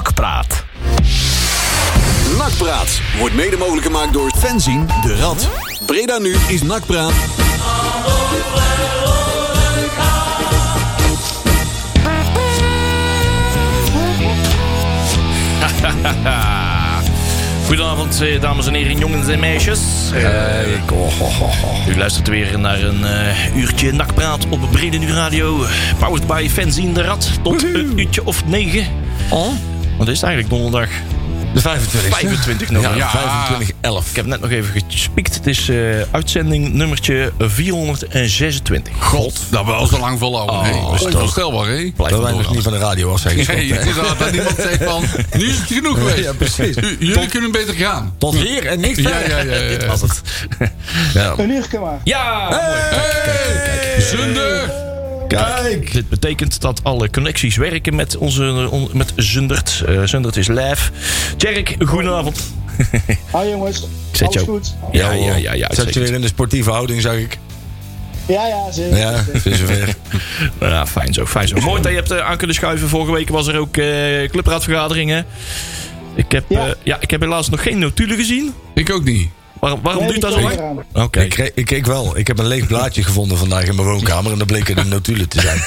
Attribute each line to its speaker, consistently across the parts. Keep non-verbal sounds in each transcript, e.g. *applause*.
Speaker 1: Nakpraat.
Speaker 2: Nakpraat wordt mede mogelijk gemaakt door Fenzien de Rad. Breda nu is Nakpraat.
Speaker 3: *laughs* Goedenavond, eh, dames en heren, jongens en meisjes. Eh, oh, U luistert weer naar een eh, uurtje nakpraat op Brede Nu Radio. Powered by Fanzine de Rad. Tot een uurtje of negen.
Speaker 4: Oh.
Speaker 3: Wat is het eigenlijk donderdag?
Speaker 4: De 25.
Speaker 3: 25 nog.
Speaker 4: Ja, 25 11.
Speaker 3: Ik heb net nog even gespikt. Het is eh, uitzending nummertje 426.
Speaker 4: God, dat we al zo lang volhouden. hè.
Speaker 3: dat is toch-
Speaker 4: Onvoorstelbaar, hè?
Speaker 3: Blijf
Speaker 4: Dat
Speaker 3: maar
Speaker 4: wij nog
Speaker 3: doorgaan.
Speaker 4: niet van de radio was, zeg
Speaker 5: Nee, het is dat, dat niemand zegt van, nu is het genoeg geweest.
Speaker 4: Ja, precies.
Speaker 5: U- jullie kunnen beter gaan.
Speaker 4: Tot hier en niks
Speaker 5: Ja, ja, ja. ja,
Speaker 3: Dit
Speaker 5: ja.
Speaker 3: was het.
Speaker 6: Een uurtje maar.
Speaker 4: Ah.
Speaker 3: Ja!
Speaker 5: Hey, Zunder!
Speaker 4: Kijk!
Speaker 3: Dit betekent dat alle connecties werken met, onze, on- met Zundert. Eh, Zundert is live. Tjerk,
Speaker 6: *laughs*
Speaker 3: goedenavond.
Speaker 6: Hoi jongens,
Speaker 3: zet
Speaker 6: alles
Speaker 3: jou-
Speaker 6: goed?
Speaker 3: Ja, ja, ja. ja,
Speaker 4: Zat je
Speaker 3: zeker.
Speaker 4: weer in de sportieve houding, zag ik.
Speaker 6: Ja, ja, zeker.
Speaker 4: Ja, het is zover.
Speaker 3: Nou, ja, fijn zo, fijn zo. Mooi dat je hebt eh, aan kunnen schuiven. Vorige week was er ook eh clubraadvergaderingen. Ik heb,
Speaker 6: Ja.
Speaker 3: eh, ja, ik heb helaas nog geen notulen gezien.
Speaker 5: Ik ook niet.
Speaker 3: Waar- waarom
Speaker 6: Nee,
Speaker 3: duurt dat
Speaker 6: die
Speaker 3: zo lang?
Speaker 6: komt eraan.
Speaker 3: Oké.
Speaker 4: Ik, kreeg- ik keek wel. Ik heb een leeg blaadje gevonden vandaag in mijn woonkamer. En dat bleken de notulen
Speaker 3: *laughs*
Speaker 4: te zijn.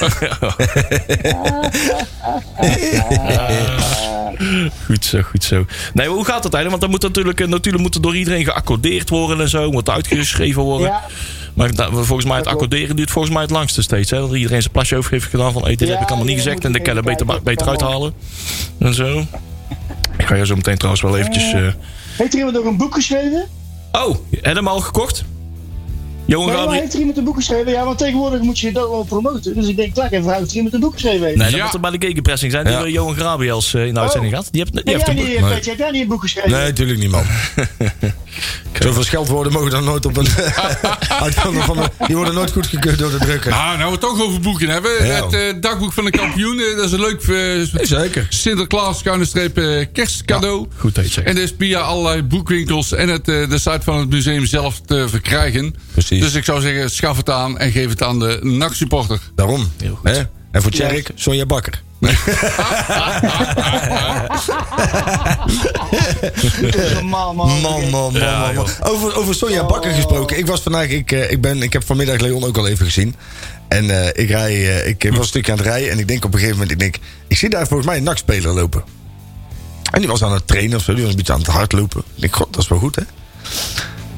Speaker 3: Goed zo, goed zo. Nee, maar hoe gaat het eigenlijk? Want dan moet natuurlijk, eh, notulen moeten door iedereen geaccordeerd worden en zo. Moet uitgeschreven worden.
Speaker 6: Ja,
Speaker 3: Maar da- volgens mij het
Speaker 6: klopt.
Speaker 3: accorderen duurt volgens mij het langste steeds. Hè? Dat iedereen zijn plasje over heeft gedaan van hey, dit
Speaker 6: Ja,
Speaker 3: heb ik allemaal niet
Speaker 6: iedereen
Speaker 3: gezegd en dat
Speaker 6: moet
Speaker 3: kan er beter,
Speaker 6: even
Speaker 3: ba- beter
Speaker 6: kijken wat er
Speaker 3: uithalen. En zo. Ik ga jou zo meteen trouwens wel eventjes... eh,
Speaker 6: Heeft er iemand ook een boek geschreven?
Speaker 3: Oh, helemaal gekocht? Johan
Speaker 6: Nee, maar
Speaker 3: Gabriel...
Speaker 6: heeft er iemand een boek geschreven? Ja, want tegenwoordig moet je dat wel promoten. Dus ik denk, klaar, even vragen of er iemand een boek geschreven heeft.
Speaker 3: Nee, dat
Speaker 5: Ja.
Speaker 3: moet er bij de gegenpressing zijn. Die
Speaker 4: Ja.
Speaker 3: hebben Johan Grabiels eh, in de
Speaker 6: Oh.
Speaker 3: uitzending gehad. Die heeft, die heeft
Speaker 6: heb
Speaker 3: een
Speaker 6: jij,
Speaker 3: boek.
Speaker 6: niet, Petje, heb jij niet een boek geschreven?
Speaker 4: Nee, natuurlijk niet, man. Zoveel scheldwoorden mogen dan nooit
Speaker 3: *laughs*
Speaker 4: op een... uitkomen van een- die worden nooit goedgekeurd door de
Speaker 3: Ah,
Speaker 4: drukker.
Speaker 5: Nou, nou we het toch over boeken hebben.
Speaker 4: Ja.
Speaker 5: Het eh, dagboek van de kampioen, eh, dat is een leuk eh,
Speaker 4: Zeker.
Speaker 5: Sinterklaas schuine streep eh, kerstcadeau.
Speaker 3: goed dat je het zegt.
Speaker 5: En dat is via allerlei boekwinkels en het, eh, de site van het museum zelf te verkrijgen.
Speaker 4: Precies.
Speaker 5: Dus ik zou zeggen, schaf het aan en geef het aan de nachtsupporter.
Speaker 4: Daarom.
Speaker 3: Heel goed.
Speaker 4: Hè? En voor Tjerk, Sonja Bakker.
Speaker 6: Normaal, man.
Speaker 4: Man, man, man, man, man. Over, over Sonja Bakker gesproken. Ik was vandaag, ik, eh, ik, ben, ik heb vanmiddag Leon ook al even gezien. En eh, ik, rij, eh, ik was een stukje aan het rijden. En ik denk op een gegeven moment, ik denk, ik zie daar volgens mij een nachtspeler lopen. En die was aan het trainen of zo. Die was een beetje aan het hardlopen. Ik denk, god, dat is wel goed, hè?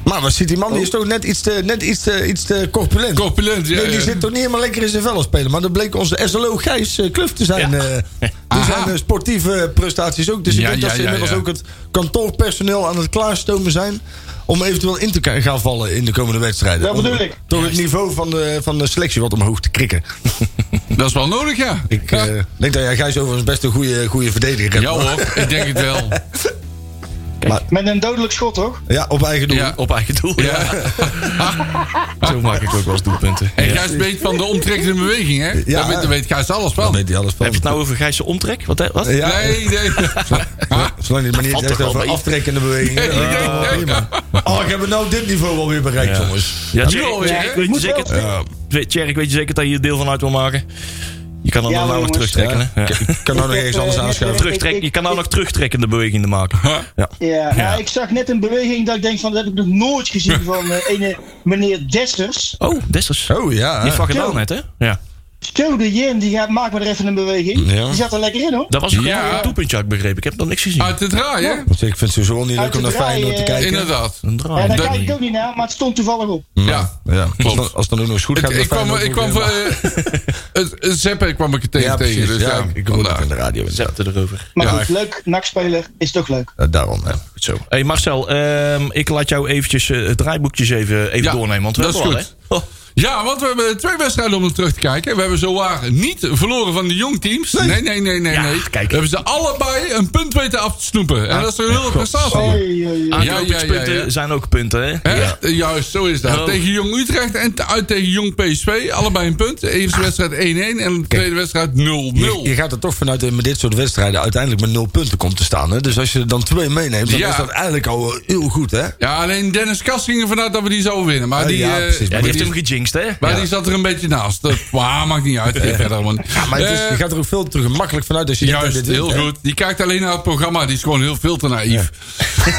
Speaker 4: Maar wat ziet die man? Die is toch net iets te, net iets te, iets te corpulent.
Speaker 5: Corpulent, ja.
Speaker 4: Nee, die
Speaker 5: ja.
Speaker 4: zit toch niet helemaal lekker in zijn vel als speler. Maar dat bleek onze SLO Gijs eh, Kluf te zijn.
Speaker 3: Ja.
Speaker 4: eh,
Speaker 5: *laughs*
Speaker 4: die
Speaker 5: Aha.
Speaker 4: zijn eh, sportieve prestaties ook. Dus ik
Speaker 5: Ja,
Speaker 4: denk
Speaker 5: ja,
Speaker 4: dat ze
Speaker 5: ja,
Speaker 4: inmiddels
Speaker 5: ja.
Speaker 4: ook het kantoorpersoneel aan het klaarstomen zijn. Om eventueel in te ka- gaan vallen in de komende wedstrijden.
Speaker 6: Dat
Speaker 4: Om
Speaker 6: bedoel ik.
Speaker 4: Toch het niveau van de, van de selectie wat omhoog te krikken.
Speaker 5: Dat is wel nodig, ja.
Speaker 4: Ik
Speaker 5: ja.
Speaker 4: eh, denk dat jij Gijs overigens best een goede, goede verdediger hebt.
Speaker 5: Ja hoor, ik denk het
Speaker 4: *laughs*
Speaker 5: wel.
Speaker 6: Met een dodelijk schot, toch?
Speaker 4: Ja, op eigen doel. Oh.
Speaker 5: Ja.
Speaker 3: Op eigen doel. Ja.
Speaker 5: Ja.
Speaker 3: Zo maak ik ook wel eens doelpunten.
Speaker 5: En
Speaker 3: Ja.
Speaker 5: Gijs weet van de omtrekkende beweging, hè?
Speaker 4: Ja.
Speaker 5: Daar weet, daar weet Gijs alles
Speaker 4: Dan
Speaker 5: van.
Speaker 4: weet hij alles van.
Speaker 3: Heb je het nou over Gijsse omtrek? Wat? hè? wat?
Speaker 4: Ja,
Speaker 5: nou- Nee, Ah. nee. *laughs*
Speaker 4: Zolang die manier
Speaker 3: valt
Speaker 4: niet echt
Speaker 3: toch wel
Speaker 4: over
Speaker 3: mee.
Speaker 4: aftrekkende bewegingen.
Speaker 5: Nee, nee,
Speaker 4: Ah,
Speaker 5: nee.
Speaker 4: prima. Oh, ik heb het nou dit niveau wel weer bereikt, jongens.
Speaker 3: Ja,
Speaker 5: Nu
Speaker 3: Tjerk,
Speaker 5: alweer, hè?
Speaker 3: Tjerk, weet je
Speaker 6: Moet wel.
Speaker 3: zeker, Tjerk, Tjerk, weet je zeker dat je er deel van uit wil maken? Je kan dan
Speaker 6: Ja,
Speaker 3: nou
Speaker 6: maar
Speaker 3: nog
Speaker 6: jongens.
Speaker 3: terugtrekken, hè? Ja.
Speaker 4: Ik kan nou nog
Speaker 6: heb,
Speaker 4: ergens
Speaker 6: eh,
Speaker 4: anders
Speaker 6: net,
Speaker 4: aanschuiven.
Speaker 6: eh,
Speaker 3: Terugtrek, je kan nou nog terugtrekkende bewegingen maken. Ja.
Speaker 6: Ja. Nou, ik zag net een beweging dat ik denk van, dat heb ik nog nooit gezien van eh, ene meneer Dessers.
Speaker 3: Oh, Dessers.
Speaker 4: Oh ja.
Speaker 3: Die heeft van gedaan
Speaker 6: Zo.
Speaker 3: net, hè? Ja.
Speaker 6: Zo, de Jim, die gaat, maakt maar even een beweging.
Speaker 4: Ja.
Speaker 6: Die zat er lekker in, hoor.
Speaker 3: Dat was
Speaker 5: Ja. Ah.
Speaker 3: gewoon een toepuntje, had ik begrepen. Ik heb nog niks gezien.
Speaker 5: Uit het raai, hè?
Speaker 4: Want ik eh, vind het sowieso niet leuk om naar
Speaker 6: Uit te
Speaker 4: Feyenoord te
Speaker 6: draaien,
Speaker 4: kijken.
Speaker 5: Inderdaad.
Speaker 3: Een
Speaker 6: Ja,
Speaker 3: draai.
Speaker 6: daar
Speaker 3: Oh, Dat-
Speaker 6: kijk ik ook niet naar, maar het stond toevallig op.
Speaker 5: Ja.
Speaker 4: Ja, als,
Speaker 5: Klopt.
Speaker 4: dan, als dan ook nog eens goed
Speaker 5: Ik,
Speaker 4: gaat met
Speaker 5: ik kwam,
Speaker 4: Feyenoord,
Speaker 5: ik kwam
Speaker 4: dan
Speaker 5: van,
Speaker 4: weer-
Speaker 5: eh, *laughs* het het Zeppen kwam ik er tegen.
Speaker 4: Ja,
Speaker 5: tegen
Speaker 4: precies.
Speaker 5: dus
Speaker 4: ja,
Speaker 5: ja,
Speaker 4: ik hoorde het
Speaker 5: vandaar.
Speaker 4: in de radio.
Speaker 3: Zette erover.
Speaker 6: Maar
Speaker 5: Ja.
Speaker 6: goed, leuk. Nakspeler is toch leuk.
Speaker 4: Eh, daarom, hè.
Speaker 3: Goed zo. hey Marcel, ehm, ik laat jou eventjes eh, het draaiboekjes even, even
Speaker 5: Ja,
Speaker 3: doornemen. Want we
Speaker 5: dat is
Speaker 3: hebben wel, hè?
Speaker 5: Ja, want we hebben twee wedstrijden om er terug te kijken. We hebben zowaar niet verloren van de jongteams. Nee, nee, nee, nee. nee,
Speaker 3: Ja,
Speaker 5: nee.
Speaker 3: kijk.
Speaker 5: We hebben ze allebei een punt weten af te snoepen. En dat is een hele prestatie.
Speaker 6: Oei, oei, oei.
Speaker 3: Oh,
Speaker 5: ja, ja,
Speaker 3: aanknopingspunten
Speaker 5: ja.
Speaker 3: zijn ook punten, hè?
Speaker 5: Hè? Juist, zo is dat.
Speaker 4: Nou.
Speaker 3: Oh.
Speaker 5: Tegen Jong Utrecht en te- uit tegen Jong PSV. Allebei een punt. De eerste wedstrijd 1-1 en de tweede wedstrijd 0-0.
Speaker 4: Ah. Je, je gaat er toch vanuit dat je met dit soort wedstrijden uiteindelijk met nul punten komt te staan. Hè? Dus als je er dan twee meeneemt, dan
Speaker 5: Ja.
Speaker 4: is dat eigenlijk al eh, heel goed, hè?
Speaker 5: Ja, alleen Dennis Kast ging ervan uit dat we die zouden winnen. Maar
Speaker 4: Eh,
Speaker 5: die,
Speaker 4: ja,
Speaker 5: eh,
Speaker 3: Ja,
Speaker 4: precies.
Speaker 3: die
Speaker 4: Maar die
Speaker 3: heeft hem hengst, hè?
Speaker 5: Maar die zat er een beetje naast. Dat, *laughs* maar maakt niet uit. Geef verder, man.
Speaker 4: Ja, maar het is-
Speaker 5: Eh,
Speaker 4: je gaat er ook veel te gemakkelijk vanuit als dus je dit-
Speaker 5: Juist,
Speaker 4: dit eh,
Speaker 5: heel
Speaker 4: doet, hè.
Speaker 5: goed. Die kijkt alleen naar het programma. Die is gewoon heel veel te naïef. Eh,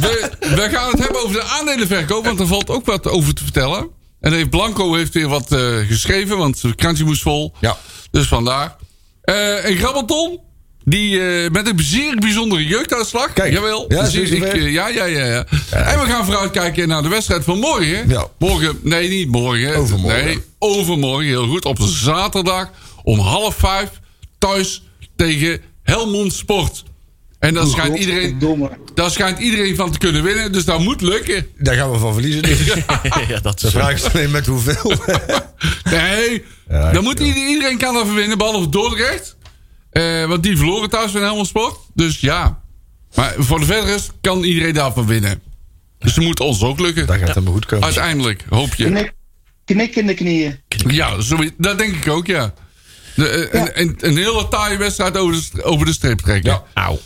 Speaker 5: we, we gaan het hebben over de aandelenverkoop. Want er valt ook wat over te vertellen. En heeft Blanco heeft weer wat eh, geschreven. Want het krantje moest vol.
Speaker 4: Ja.
Speaker 5: Dus vandaar. Eh een grabbelton. Die eh, met een zeer bijzondere jeugduitslag.
Speaker 4: Kijk,
Speaker 5: Jawel.
Speaker 4: ja,
Speaker 5: Dus
Speaker 4: zo is
Speaker 5: ik,
Speaker 4: het weer.
Speaker 5: eh, ja, ja, ja, ja. En we gaan vooruitkijken naar de wedstrijd van morgen.
Speaker 4: Ja.
Speaker 5: Morgen, nee, niet morgen.
Speaker 4: Overmorgen.
Speaker 5: Nee, overmorgen, heel goed. Op zaterdag om half vijf thuis tegen Helmond Sport. En daar schijnt, iedereen,
Speaker 6: Domme.
Speaker 5: daar schijnt iedereen van te kunnen winnen, dus dat moet lukken.
Speaker 4: Daar gaan we van verliezen. Dus.
Speaker 5: Ah.
Speaker 3: *laughs* ja, dat
Speaker 4: De
Speaker 3: is
Speaker 4: vraag is alleen met hoeveel.
Speaker 5: Nee,
Speaker 4: Ja, ik
Speaker 5: dan moet ieder- iedereen kan daarvan winnen, behalve Dordrecht. Eh, want die verloren thuis van Helmond Sport. Dus ja. Maar voor de verdere rest kan iedereen daarvan winnen. Dus het moet ons ook
Speaker 4: Daar
Speaker 5: lukken.
Speaker 4: gaat het helemaal goed komen.
Speaker 5: Uiteindelijk, hoop je.
Speaker 6: Knik, knik in de knieën.
Speaker 5: Ja, zo, dat denk ik ook, ja. De, eh, Een, een, een hele taaie wedstrijd over de, st- over de streep trekken.
Speaker 3: Auw.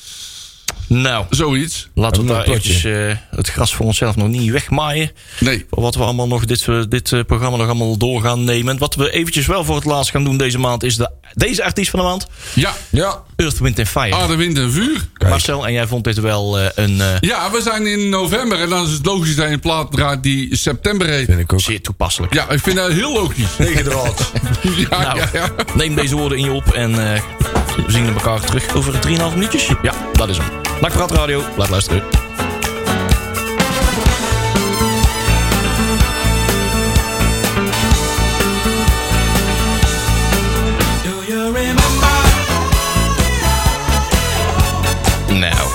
Speaker 3: Nou,
Speaker 5: Zoiets.
Speaker 3: laten we
Speaker 4: Een
Speaker 3: daar
Speaker 4: plotje.
Speaker 3: eventjes eh, het gras voor onszelf nog niet wegmaaien.
Speaker 5: Nee.
Speaker 3: Wat we allemaal nog, dit, eh, dit eh, programma nog allemaal door gaan nemen. Wat we eventjes wel voor het laatst gaan doen deze maand... is de, deze artiest van de maand,
Speaker 5: Ja.
Speaker 4: Ja,
Speaker 3: Earth, Wind Fire.
Speaker 4: Ah,
Speaker 5: Aarde, wind en vuur.
Speaker 3: Marcel, en jij vond dit wel eh, een eh,
Speaker 5: Ja, we zijn in november. En dan is het logisch dat je een plaat draait die september heet.
Speaker 4: vind ik ook.
Speaker 3: zeer toepasselijk.
Speaker 5: Ja, ik vind dat heel logisch.
Speaker 4: Tegen de wat.
Speaker 5: *laughs* Ja,
Speaker 3: Nou,
Speaker 5: ja, ja.
Speaker 3: neem deze woorden in je op en eh, we zien elkaar terug over 3,5 minuutjes. Ja, dat is hem. Nakpraat Radio, blijf luisteren. Nou.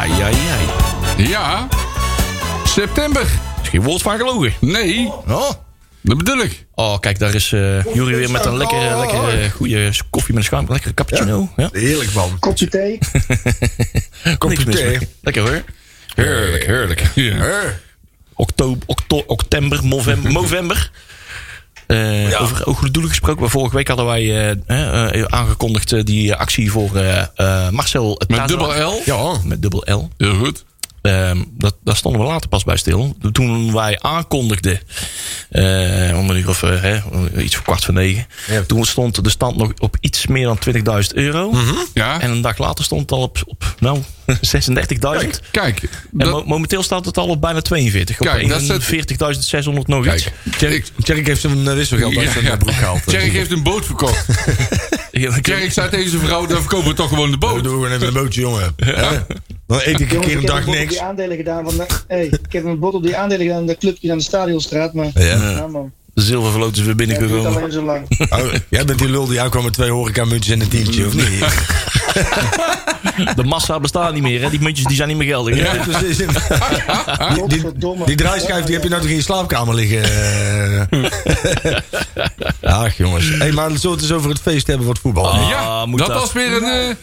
Speaker 3: Ai, ai, ai.
Speaker 5: Ja. September.
Speaker 3: Is geen woord van gelogen.
Speaker 5: Nee,
Speaker 4: Oh,
Speaker 5: dat bedoel ik.
Speaker 3: Oh, kijk, daar is eh Jury weer met een lekkere, lekkere goede koffie met een schuim. Lekkere cappuccino. Ja?
Speaker 4: heerlijk man.
Speaker 6: Kopje thee.
Speaker 3: Niks mis
Speaker 4: thee.
Speaker 3: mee. Lekker hoor.
Speaker 4: Heerlijk, heerlijk.
Speaker 5: Ja.
Speaker 3: Oktober, okto, oktember, november. november. Eh, Over ook goede doelen gesproken. Maar vorige week hadden wij eh, eh, eh, aangekondigd eh, die actie voor eh, eh, Marcel
Speaker 5: Met
Speaker 3: Tazelaar.
Speaker 5: dubbel L.
Speaker 4: Ja,
Speaker 3: Met dubbel L.
Speaker 5: Heel goed.
Speaker 3: Ehm, dat, daar stonden we later pas bij stil. Toen wij aankondigden, eh, om een uur of eh, hè, iets voor kwart voor negen.
Speaker 4: Ja.
Speaker 3: Toen stond de stand nog op iets meer dan 20.000 euro.
Speaker 5: Mhm. Ja.
Speaker 3: En een dag later stond het al op, op nou, *laughs* 36.000.
Speaker 5: Kijk,
Speaker 3: En
Speaker 5: dat,
Speaker 3: mo- momenteel staat het al op bijna 42. Op
Speaker 5: Kijk, dat is het-
Speaker 3: 41.600 nog iets.
Speaker 5: kijk. Ik,
Speaker 4: Tjerk heeft zijn eh, wisselgeld uit
Speaker 5: Ja,
Speaker 4: zijn
Speaker 5: ja.
Speaker 4: eh, broek gehaald.
Speaker 5: Tjerk heeft een boot verkocht.
Speaker 3: *laughs* Ja, dan kun je-
Speaker 5: Tjerk zei tegen zijn vrouw, dan verkopen we toch gewoon de
Speaker 4: We
Speaker 5: boot.
Speaker 4: doen Oh, gewoon even een bootje, jongen. Ja. Dan eet ik een
Speaker 6: Jongens,
Speaker 4: *laughs* keer
Speaker 6: ik
Speaker 4: een
Speaker 6: heb een
Speaker 4: dag
Speaker 6: bod op
Speaker 4: niks.
Speaker 6: die aandelen gedaan. Van de, hey, ik heb een bod op die aandelen gedaan. Dat clubje aan de stadionstraat. Maar
Speaker 4: Ja.
Speaker 6: ja, man.
Speaker 3: De zilvervloot is weer
Speaker 6: Ja, dat duurt
Speaker 3: binnengekomen.
Speaker 6: alleen zo lang.
Speaker 4: Oh, jij bent die lul die aankwam met twee horecamuntjes en een tientje, of niet?
Speaker 3: De massa bestaat niet meer. Hè? Die muntjes die zijn niet meer geldig. hè?
Speaker 4: Ja, precies. Ah, Die, die,
Speaker 6: Godverdomme.
Speaker 4: die draaischijf die heb je nou toch in je
Speaker 5: *laughs*
Speaker 4: slaapkamer liggen? eh. Ach, jongens. Hey, maar zullen we het eens over het feest hebben voor het voetbal?
Speaker 5: Ja,
Speaker 3: moet
Speaker 5: dat
Speaker 3: dat.
Speaker 5: was weer een, eh,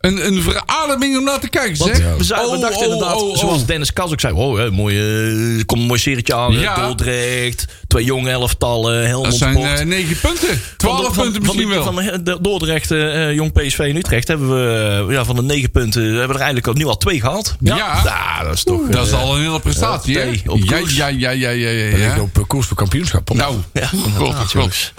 Speaker 5: een, een verademing om naar te kijken,
Speaker 3: Want
Speaker 5: zeg.
Speaker 3: we, zeiden- we
Speaker 5: Oh,
Speaker 3: dachten
Speaker 5: oh,
Speaker 3: inderdaad,
Speaker 5: oh, oh.
Speaker 3: zoals Dennis Kas ook zei... Oh, hè, mooie, kom een mooi serietje aan. hè,
Speaker 5: Ja.
Speaker 3: Dordrecht, twee jonge elftallen,
Speaker 5: Dat
Speaker 3: Helmond
Speaker 5: zijn
Speaker 3: Sport.
Speaker 5: eh, negen punten. Twaalf
Speaker 3: Van-
Speaker 5: punten
Speaker 3: van- van-
Speaker 5: misschien wel.
Speaker 3: Van, eh, de- Dordrecht, eh, eh, Jong PSV en Utrecht hebben we eh, ja, van de negen punten hebben we er eigenlijk al- nu al twee gehad.
Speaker 5: Ja.
Speaker 3: dat is toch...
Speaker 5: dat is al een hele prestatie,
Speaker 3: ja,
Speaker 5: hè?
Speaker 3: thee op
Speaker 5: Ja,
Speaker 3: koers.
Speaker 5: ja, ja, ja, ja, ja,
Speaker 4: We liggen
Speaker 5: ja.
Speaker 4: op eh, koers voor kampioenschap. hoor.
Speaker 5: Nou, eh.
Speaker 3: Ja,
Speaker 5: god, god, god.
Speaker 3: jongens.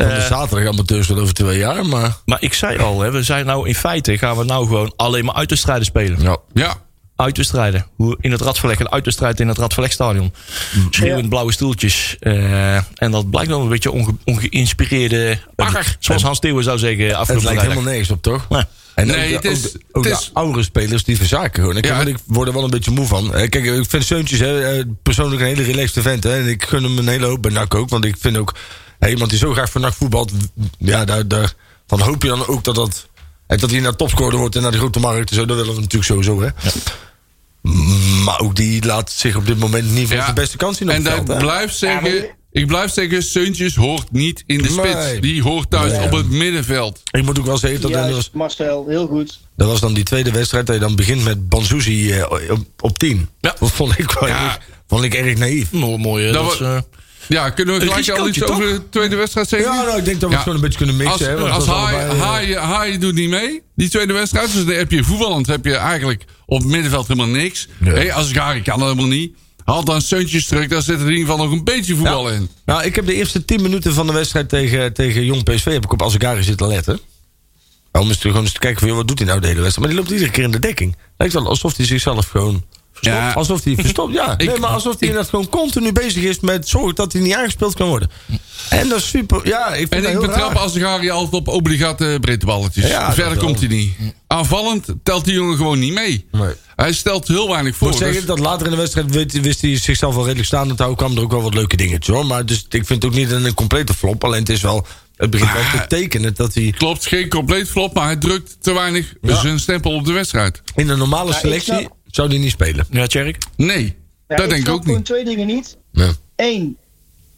Speaker 4: Van de zaterdag amateurs wel over twee jaar, maar...
Speaker 3: Maar ik zei al, hè, we zijn nou in feite gaan we nou gewoon alleen maar uitwedstrijden spelen.
Speaker 4: Ja.
Speaker 5: Ja,
Speaker 3: Uitwedstrijden. Hoe in het Radverleg, een uitwedstrijd in het Radverlegstadion.
Speaker 4: Mm.
Speaker 3: Schreeuwend blauwe stoeltjes. eh, en dat blijkt dan een beetje onge, ongeïnspireerde bagger, zoals Hans Theeuwen zou zeggen
Speaker 4: Het
Speaker 3: afgelopen
Speaker 4: lijkt
Speaker 3: vrijdag.
Speaker 4: helemaal nergens op, toch?
Speaker 3: Nee.
Speaker 4: En
Speaker 5: Nee,
Speaker 4: ook de,
Speaker 5: het is-
Speaker 4: ook de- ook
Speaker 5: het
Speaker 4: de
Speaker 5: is-
Speaker 4: oudere spelers die verzaken gewoon. Ik,
Speaker 5: Ja.
Speaker 4: word- ik word er wel een beetje moe van. Eh, Kijk, ik vind Seuntjes hè, eh, persoonlijk een hele relaxed vent. Hè, en ik gun hem een hele hoop bij NAC ook. Want ik vind ook, hè, iemand die zo graag voor NAC voetbalt... Ja, daar, daar, van hoop je dan ook dat dat... hè, Dat hij naar topscorer wordt en naar de grote markt. en Zo, dat willen we natuurlijk sowieso, hè. Mm, Maar ook die laat zich op dit moment niet van
Speaker 5: ja.
Speaker 4: zijn beste kans zien. op
Speaker 5: En
Speaker 4: het
Speaker 5: dat
Speaker 4: veld, hè.
Speaker 5: blijft
Speaker 6: maar
Speaker 5: zeggen...
Speaker 6: je-
Speaker 5: Ik blijf zeggen, Seuntjes hoort niet in de
Speaker 4: Nee.
Speaker 5: spits. Die hoort thuis op het middenveld.
Speaker 4: Ik moet ook wel zeggen dat... dat was-
Speaker 6: Juist, Marcel, heel goed.
Speaker 4: Dat was dan die tweede wedstrijd dat je dan begint met Banzuzi eh, op, op 10.
Speaker 3: Ja.
Speaker 4: Dat vond ik, wel
Speaker 5: Ja.
Speaker 4: erg- vond ik erg naïef.
Speaker 3: Mooi, mooi. eh,
Speaker 5: Dat
Speaker 3: dat
Speaker 5: we-
Speaker 3: is, eh,
Speaker 5: Ja, kunnen we
Speaker 3: Een
Speaker 5: gelijk al iets
Speaker 3: risicootje,
Speaker 5: over de tweede wedstrijd zeggen?
Speaker 4: Ja, nou, ik denk dat we
Speaker 5: Ja.
Speaker 4: het gewoon een beetje kunnen mixen.
Speaker 5: Als,
Speaker 4: hè, want
Speaker 5: als
Speaker 4: dat is
Speaker 5: Haaien
Speaker 4: allebei, eh,
Speaker 5: Haaien- Haaien doet niet mee, die tweede wedstrijd. Dus dan heb je voetballend heb je eigenlijk op het middenveld helemaal niks.
Speaker 4: Nee.
Speaker 5: Hey, als Gari kan dat helemaal niet. Haal dan Suntjes terug. Daar zit er in ieder geval nog een beetje voetbal in.
Speaker 4: Nou, ik heb de eerste 10 minuten van de wedstrijd tegen, tegen Jong PSV heb ik op Azagari zitten letten. Nou, Om eens te, gewoon eens te kijken van, joh, wat doet hij nou de hele wedstrijd? Maar die loopt iedere keer in de dekking. Lijkt wel alsof hij zichzelf gewoon verstopt.
Speaker 5: Ja.
Speaker 4: Alsof hij verstopt,
Speaker 5: *laughs*
Speaker 4: ja. nee, maar alsof hij inderdaad gewoon continu bezig is met zorgen dat hij niet aangespeeld kan worden. En dat is super, ja, ik vind
Speaker 5: Mm. En
Speaker 4: dat
Speaker 5: ik
Speaker 4: heel raar.
Speaker 5: betrap Azegari altijd op obligate breedteballetjes.
Speaker 4: Ja, dat
Speaker 5: Verder
Speaker 4: wel.
Speaker 5: komt hij niet. Aanvallend telt die jongen gewoon niet mee.
Speaker 4: Nee.
Speaker 5: Hij stelt heel weinig
Speaker 4: Ik
Speaker 5: voor.
Speaker 6: Oh,
Speaker 4: moet zeggen
Speaker 5: Dus-
Speaker 4: dat later in de wedstrijd weet- wist hij zichzelf wel redelijk staan te houden. kwamen er ook wel wat leuke dingetjes hoor. Maar dus, ik vind het ook niet een, een complete flop. Alleen het is wel, het begint wel te tekenen dat hij
Speaker 5: Klopt, geen compleet flop, maar hij drukt te weinig zijn stempel op de wedstrijd.
Speaker 4: in een normale
Speaker 6: ik
Speaker 4: selectie
Speaker 6: snap-
Speaker 4: zou die niet spelen.
Speaker 3: Ja, Tjerk?
Speaker 5: Nee, dat
Speaker 6: Ja,
Speaker 5: denk ik
Speaker 6: snap
Speaker 5: ook niet.
Speaker 6: gewoon twee dingen niet.
Speaker 4: Ja.
Speaker 6: Eén,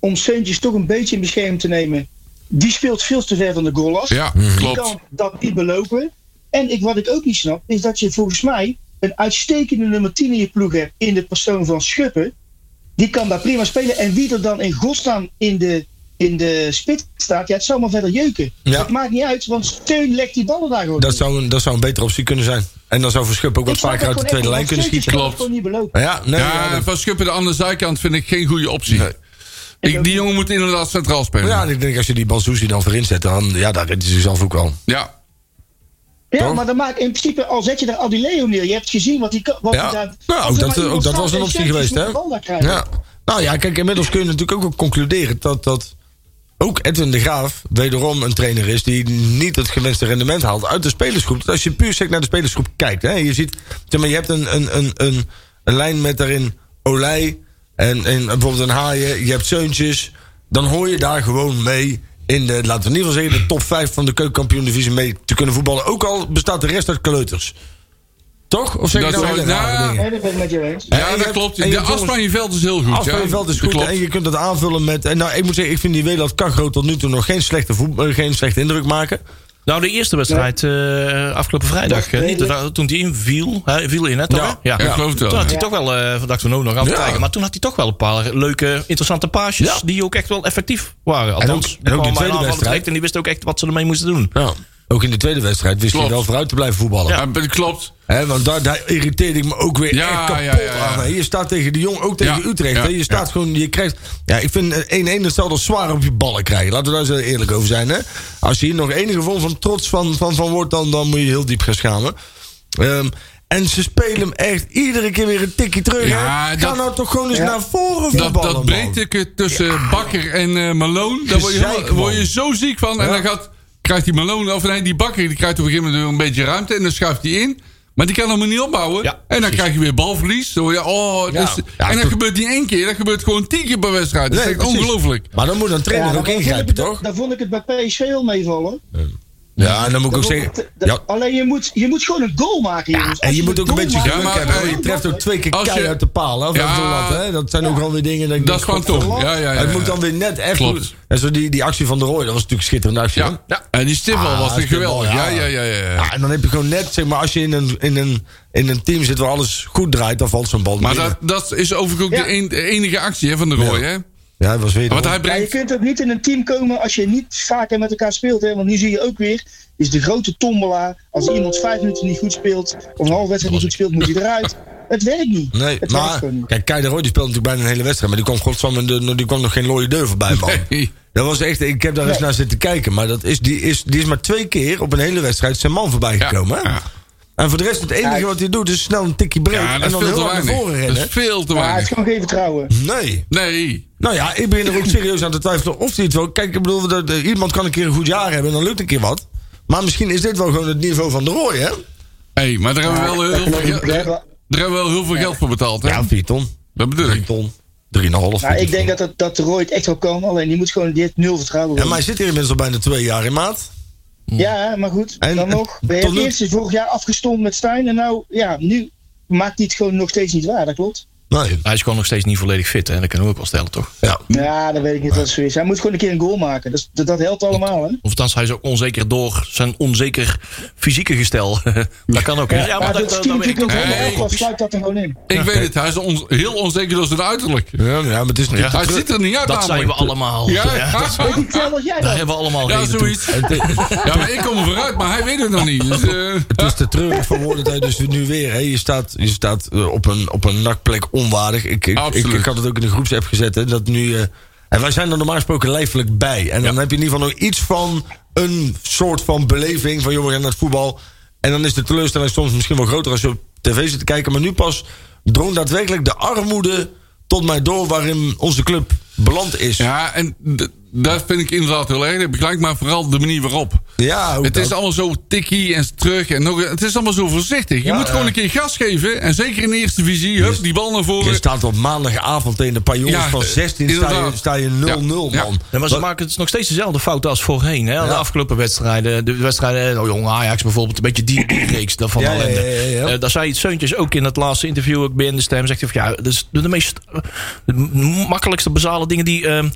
Speaker 6: om Seuntjes toch een beetje in bescherming te nemen. Die speelt veel te ver van de goal af.
Speaker 5: Ja,
Speaker 4: Mhm.
Speaker 6: Die
Speaker 5: klopt.
Speaker 6: kan dat niet belopen. En ik, wat ik ook niet snap, is dat je volgens mij een uitstekende nummer 10 in je ploeg hebt in de persoon van Schuppen. Die kan daar prima spelen. En wie er dan in godsnaam in de, in de spit staat, ja, het zal maar verder jeuken.
Speaker 4: Ja.
Speaker 6: Dat maakt niet uit, want Steun legt die ballen daar gewoon.
Speaker 4: Dat,
Speaker 6: in.
Speaker 4: zou een, dat zou een betere optie kunnen zijn. En dan zou Verschuppen ook
Speaker 6: Ik
Speaker 4: wat
Speaker 6: snap
Speaker 4: vaker
Speaker 6: dat
Speaker 4: uit de
Speaker 6: gewoon
Speaker 4: tweede
Speaker 6: echt
Speaker 4: lijn
Speaker 6: niet,
Speaker 4: kunnen
Speaker 6: want
Speaker 4: schieten.
Speaker 6: Seuntjes kan
Speaker 5: Klopt.
Speaker 6: het gewoon niet belopen.
Speaker 4: Ja, nee, ja,
Speaker 5: Ja,
Speaker 4: dat-
Speaker 5: van Schuppen de andere zijkant vind ik geen goede optie. Ik, die jongen moet inderdaad centraal spelen.
Speaker 4: ja,
Speaker 5: Ja,
Speaker 4: en ik denk als je die Bansuzi dan voorin zet, dan ja, daar redt hij zichzelf ook wel.
Speaker 6: Ja,
Speaker 4: Toch?
Speaker 6: maar dan maakt in principe, al zet je daar Adileo neer, je hebt gezien wat hij kan. Wat
Speaker 4: Ja.
Speaker 6: hij daar,
Speaker 4: Nou,
Speaker 6: als er
Speaker 4: dat-
Speaker 6: maar iemand
Speaker 4: ook dat
Speaker 6: staat
Speaker 4: was een
Speaker 6: en
Speaker 4: optie
Speaker 6: Seuntjes
Speaker 4: geweest,
Speaker 6: moet
Speaker 4: hè?
Speaker 6: dus de bal daar krijgen.
Speaker 4: Ja. Nou ja, kijk, inmiddels kun je natuurlijk ook wel concluderen dat, dat ook Edwin de Graaf wederom een trainer is die niet het gewenste rendement haalt uit de spelersgroep. Dus als je puur sec naar de spelersgroep kijkt, hè, je ziet, zeg maar, je hebt een, een, een, een, een lijn met daarin Olij en, en bijvoorbeeld een Haaien, je hebt Zeuntjes, dan hoor je daar gewoon mee in de, laten we in ieder geval zeggen, de top 5 van de keukenkampioen divisie mee te kunnen voetballen. Ook al bestaat de rest uit kleuters. Toch? Of zeg je
Speaker 5: Dat
Speaker 4: nou
Speaker 5: zou-
Speaker 4: hele rare
Speaker 5: nou,
Speaker 4: dingen?
Speaker 6: Ja, dat ben ik met je eens.
Speaker 4: en je
Speaker 5: dat
Speaker 4: hebt-
Speaker 5: klopt.
Speaker 4: en je
Speaker 5: De
Speaker 4: hebt
Speaker 5: as
Speaker 4: jongens-
Speaker 5: van je veld is heel goed.
Speaker 4: Als van
Speaker 5: ja.
Speaker 4: je veld is
Speaker 5: Dat
Speaker 4: goed
Speaker 5: klopt.
Speaker 4: en je kunt het aanvullen met... En nou, ik moet zeggen, ik vind die Weland Kagroot tot nu toe nog geen slechte, voet- eh, geen slechte indruk maken.
Speaker 3: Nou, de eerste wedstrijd eh, afgelopen vrijdag. eh, niet, Dat- toen die inviel. Hij viel in, hè? toch?
Speaker 4: Ja.
Speaker 5: Ja, ik geloof het wel.
Speaker 3: Toen had hij toch wel, eh dat dachten we ook nog aan het
Speaker 4: Ja.
Speaker 3: kijken. Maar toen had hij toch wel een paar leuke, interessante paasjes. Die ook echt wel effectief waren. Althans,
Speaker 4: ook- en ook die
Speaker 3: kwam hij
Speaker 4: tweede
Speaker 3: aan aanvallen
Speaker 4: wedstrijd.
Speaker 3: terecht En die wisten ook echt wat ze ermee moesten doen.
Speaker 4: Ja. Ook in de tweede wedstrijd wist
Speaker 5: Klopt.
Speaker 4: hij wel vooruit te blijven voetballen.
Speaker 5: Ja, dat klopt.
Speaker 4: Hè, want daar, daar irriteerde ik me ook weer
Speaker 5: Ja,
Speaker 4: echt kapot
Speaker 5: ja, ja, ja.
Speaker 4: aan. hè. Je staat tegen de jong, ook tegen
Speaker 5: Ja,
Speaker 4: Utrecht.
Speaker 5: ja,
Speaker 4: hè. Je staat
Speaker 5: ja.
Speaker 4: gewoon, je krijgt... Ja, ik vind eh, 1-1 hetzelfde als zwaar op je ballen krijgen. Laten we daar eens eerlijk over zijn. Hè? Als je hier nog enige vorm van trots van, van, van wordt... Dan, dan moet je heel diep gaan schamen. Ehm, en ze spelen hem echt iedere keer weer een tikje terug. hè.
Speaker 5: Ja,
Speaker 4: Ga
Speaker 5: dat-
Speaker 4: nou toch gewoon eens naar voren
Speaker 5: Dat,
Speaker 4: voetballen,
Speaker 5: dat
Speaker 4: man.
Speaker 5: breedteken tussen Bakker en eh Malone, daar word je,
Speaker 4: Gezeik,
Speaker 5: helemaal- word je
Speaker 4: man.
Speaker 5: zo ziek van. En
Speaker 4: Ja.
Speaker 5: dan gaat, krijgt die Malone, of nee, die Bakker, die krijgt op een gegeven moment een beetje ruimte. En dan schuift hij in. Maar die kan hem niet opbouwen.
Speaker 3: Ja,
Speaker 5: en dan krijg je weer balverlies. Dan word je, oh, dat
Speaker 4: Ja.
Speaker 5: is-
Speaker 4: Ja,
Speaker 5: en dat
Speaker 4: toch-
Speaker 5: gebeurt niet één keer. Dat gebeurt gewoon tien keer per wedstrijd. Dat
Speaker 4: Nee,
Speaker 5: is echt
Speaker 4: precies.
Speaker 5: ongelooflijk.
Speaker 4: Maar dan moet een trainer
Speaker 6: Ja,
Speaker 4: ook
Speaker 6: daar vond
Speaker 4: ingrijpen,
Speaker 6: ik-
Speaker 4: toch?
Speaker 6: Daar vond ik het bij PSV al meevallen. eh,
Speaker 4: Ja, en dan moet ik ook zeggen... Ja,
Speaker 6: Alleen je moet, je moet gewoon een goal maken, jongens.
Speaker 4: en
Speaker 6: Als
Speaker 4: je moet ook een
Speaker 6: goal
Speaker 4: beetje
Speaker 6: maakt-
Speaker 5: Ja,
Speaker 4: geluk
Speaker 5: maar,
Speaker 4: hebben. hoor.
Speaker 5: eh,
Speaker 4: Je treft ook twee keer
Speaker 5: als je-
Speaker 4: keihard uit de paal. Hè, of
Speaker 5: Ja.
Speaker 4: uit de lat, hè. Dat zijn ook wel weer dingen... ik
Speaker 5: Dat
Speaker 4: denk,
Speaker 5: is van
Speaker 4: godverdomme.
Speaker 5: Tom. Ja, ja, ja,
Speaker 4: Het
Speaker 5: ja.
Speaker 4: moet dan weer net echt...
Speaker 5: Klopt.
Speaker 4: goed. En zo die, die actie van de Roy, dat was natuurlijk een schitterende actie.
Speaker 5: Ja.
Speaker 4: hè?
Speaker 5: En die stippel
Speaker 4: Ah,
Speaker 5: was
Speaker 4: stippel,
Speaker 5: geweldig. Ja, ja, ja. ja, ja.
Speaker 4: Ja, en dan heb je gewoon net, zeg maar, als je in een, in een, in een team zit waar alles goed draait, dan valt zo'n bal
Speaker 5: Maar
Speaker 4: binnen.
Speaker 5: dat, dat is overigens ook
Speaker 6: Ja.
Speaker 5: de, een- de enige actie hè, van de Roy.
Speaker 4: Ja.
Speaker 5: Hè?
Speaker 4: Ja, dat was weer... de
Speaker 5: Want hij
Speaker 6: Ja, je
Speaker 5: brengt...
Speaker 6: kunt ook niet in een team komen als je niet vaker met elkaar speelt. Hè? Want nu zie je ook weer, is de grote tombola. Als iemand vijf minuten niet goed speelt, of een halve wedstrijd niet goed speelt, moet hij eruit. Het werkt niet.
Speaker 4: Nee,
Speaker 6: het werkt
Speaker 4: maar
Speaker 6: gewoon niet.
Speaker 4: kijk, Kei de Roy die speelde natuurlijk bijna een hele wedstrijd. Maar die kwam, godsam, die kwam nog geen looie deur voorbij, man.
Speaker 5: Nee.
Speaker 4: Dat was echt, ik heb daar eens
Speaker 6: Nee.
Speaker 4: naar zitten kijken. Maar dat is, die, is, die is maar twee keer op een hele wedstrijd zijn man voorbij
Speaker 5: Ja,
Speaker 4: gekomen. hè?
Speaker 5: ja.
Speaker 4: En voor de rest, het enige wat hij doet, is snel een tikje breed.
Speaker 5: Ja,
Speaker 4: en
Speaker 5: dat is
Speaker 4: dan
Speaker 5: veel
Speaker 4: heel
Speaker 5: te
Speaker 4: hard naar voren
Speaker 5: weinig. Dat is
Speaker 4: rennen.
Speaker 5: veel te
Speaker 6: Maar het
Speaker 5: weinig.
Speaker 6: is gewoon geen vertrouwen.
Speaker 4: Nee.
Speaker 5: Nee.
Speaker 4: Nou ja, ik begin er ook serieus aan te twijfelen of hij het wel. Kijk, ik bedoel, dat, eh, iemand kan een keer een goed jaar hebben en dan lukt een keer wat. Maar misschien is dit wel gewoon het niveau van de Roy, hè?
Speaker 5: Hé, maar daar hebben we wel heel veel,
Speaker 6: geloof ik
Speaker 5: geld-
Speaker 6: niet.
Speaker 5: daar hebben we wel heel veel geld voor betaald, hè?
Speaker 4: Ja, vier ton.
Speaker 5: Dat bedoel
Speaker 4: Drie
Speaker 5: ik.
Speaker 4: ton. Drieënhalf.
Speaker 6: Nou, ik denk dat, dat, dat de Roy het echt wel kan, alleen die moet gewoon die heeft nul vertrouwen.
Speaker 4: Ja, maar hij zit hier inmiddels al bijna twee jaar in maat.
Speaker 6: Ja, maar goed,
Speaker 4: En-
Speaker 6: dan nog.
Speaker 4: en
Speaker 6: Bij
Speaker 4: tot
Speaker 6: het
Speaker 4: nu-
Speaker 6: eerst is vorig jaar afgestomd met Stijn en nou, ja, nu maakt hij het gewoon nog steeds niet waar, dat klopt.
Speaker 4: Nee.
Speaker 3: Hij is gewoon nog steeds niet volledig fit. Hè? Dat kunnen we ook wel stellen, toch?
Speaker 4: Ja.
Speaker 6: Ja, dat weet ik niet wat zo is. Hij moet gewoon een keer een goal maken, dat, is- dat, dat helpt allemaal, hè.
Speaker 3: Of althans, hij is ook onzeker door zijn onzeker fysieke gestel. *laughs* dat kan ook. hè? Ja,
Speaker 6: Maar
Speaker 3: maar
Speaker 6: dat
Speaker 3: dat,
Speaker 6: is
Speaker 3: dat,
Speaker 6: team
Speaker 3: werkt
Speaker 6: natuurlijk
Speaker 3: ook.
Speaker 6: nog
Speaker 5: ook wel.
Speaker 6: helemaal op, of sluit dat er gewoon in.
Speaker 5: Ik weet het, hij is on- heel onzeker door zijn uiterlijk.
Speaker 4: Ja, maar het is natuurlijk
Speaker 5: Hij
Speaker 4: te
Speaker 5: ziet er niet uit,
Speaker 3: Dat zijn we
Speaker 5: namelijk.
Speaker 3: allemaal.
Speaker 5: Ja,
Speaker 3: Ja,
Speaker 5: ja, ja,
Speaker 6: Ik vertel dat jij
Speaker 3: *laughs* Daar
Speaker 6: dat.
Speaker 3: hebben we allemaal reden toe.
Speaker 5: zoiets. Ja, maar ik kom er vooruit, maar hij weet het nog niet. Dus, eh,
Speaker 4: Het is te treurig voor woorden dat je dus nu weer... Hè, je staat, je staat eh, op een, op een nakplek onwaardig. Ik, ik, ik,
Speaker 5: Absoluut.
Speaker 4: ik had het ook in de groepsapp gezet. Hè, dat nu, eh, en wij zijn er normaal gesproken lijfelijk bij. En dan heb je in ieder geval nog iets van een soort van beleving van jongen naar het voetbal. En dan is de teleurstelling soms misschien wel groter als je op tv zit te kijken. Maar nu pas drong daadwerkelijk de armoede tot mij door waarin onze club beland is. Ja,
Speaker 5: Ja, en d- dat vind ik inderdaad heel erg. Dat heb ik gelijk, maar vooral de manier waarop.
Speaker 4: hoe
Speaker 5: Het
Speaker 4: dan?
Speaker 5: is allemaal zo tikkie en terug. En nog, het is allemaal zo voorzichtig. Je moet gewoon een keer gas geven. En zeker in de eerste visie. Hup, die bal naar
Speaker 4: Je
Speaker 5: voren.
Speaker 4: staat op maandagavond tegen een paar jongens
Speaker 5: Ja, eh,
Speaker 4: van 16 sta je,
Speaker 5: inderdaad.
Speaker 4: sta je 0-0 man.
Speaker 5: Ja.
Speaker 3: Ja, maar ze maken het nog steeds dezelfde fouten als voorheen. Hè? De
Speaker 4: Ja.
Speaker 3: afgelopen wedstrijden. De wedstrijden, eh, oh jong, Ajax bijvoorbeeld. Een beetje die, die reeks daarvan.
Speaker 4: Ja,
Speaker 3: al.
Speaker 4: ja,
Speaker 3: En,
Speaker 4: ja,
Speaker 3: eh,
Speaker 4: ja, ja.
Speaker 3: eh, daar zei Seuntjes ook in het laatste interview ook binnen de stem. Zegt hij van ja, dat is de meest eh, de makkelijkste basale dingen die... ehm,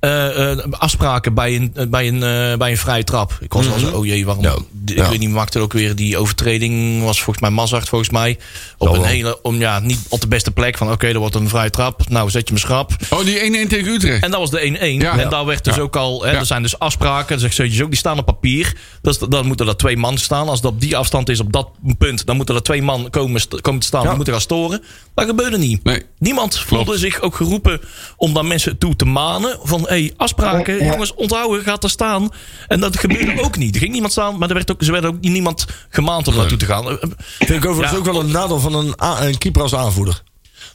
Speaker 3: eh, eh, afspraken bij een, eh, bij, een, eh, bij een vrije trap. Ik was wel zo, oh jee, waarom? d- Ik
Speaker 4: Mhm. Ja.
Speaker 3: weet niet, maakte ook weer die overtreding. Was volgens mij Mazart, volgens mij. Op
Speaker 4: Zal
Speaker 3: een
Speaker 4: wel.
Speaker 3: hele, om, ja, niet op de beste plek. Van oké, er wordt een vrije trap. Nou, zet je hem schrap.
Speaker 5: Oh, die 1-1 tegen Utrecht.
Speaker 3: En dat was de 1-1.
Speaker 5: Ja.
Speaker 3: En daar werd dus
Speaker 5: Ja.
Speaker 3: ook al. Hè,
Speaker 5: Ja.
Speaker 3: Er zijn dus afspraken. Dat zegt Zeutjes ook. Die staan op papier. Dus d- dan moeten er twee man staan. Als dat op die afstand is op dat punt. Dan moeten er twee man komen, st- komen te staan. Die moeten gaan storen. Dat gebeurde niet.
Speaker 5: Nee.
Speaker 3: Niemand voelde zich ook geroepen om daar mensen toe te manen. Van hé, hey, afspraken.
Speaker 6: Ja.
Speaker 3: Jongens, onthouden. Gaat er staan. En dat gebeurde ook niet. Er ging niemand staan. Maar er werd ook, ze werd ook niemand gemaand om naartoe te gaan. Eh, eh,
Speaker 4: Vind ik overigens
Speaker 3: Ja.
Speaker 4: ook wel een nadeel van een, a- een keeper als aanvoerder.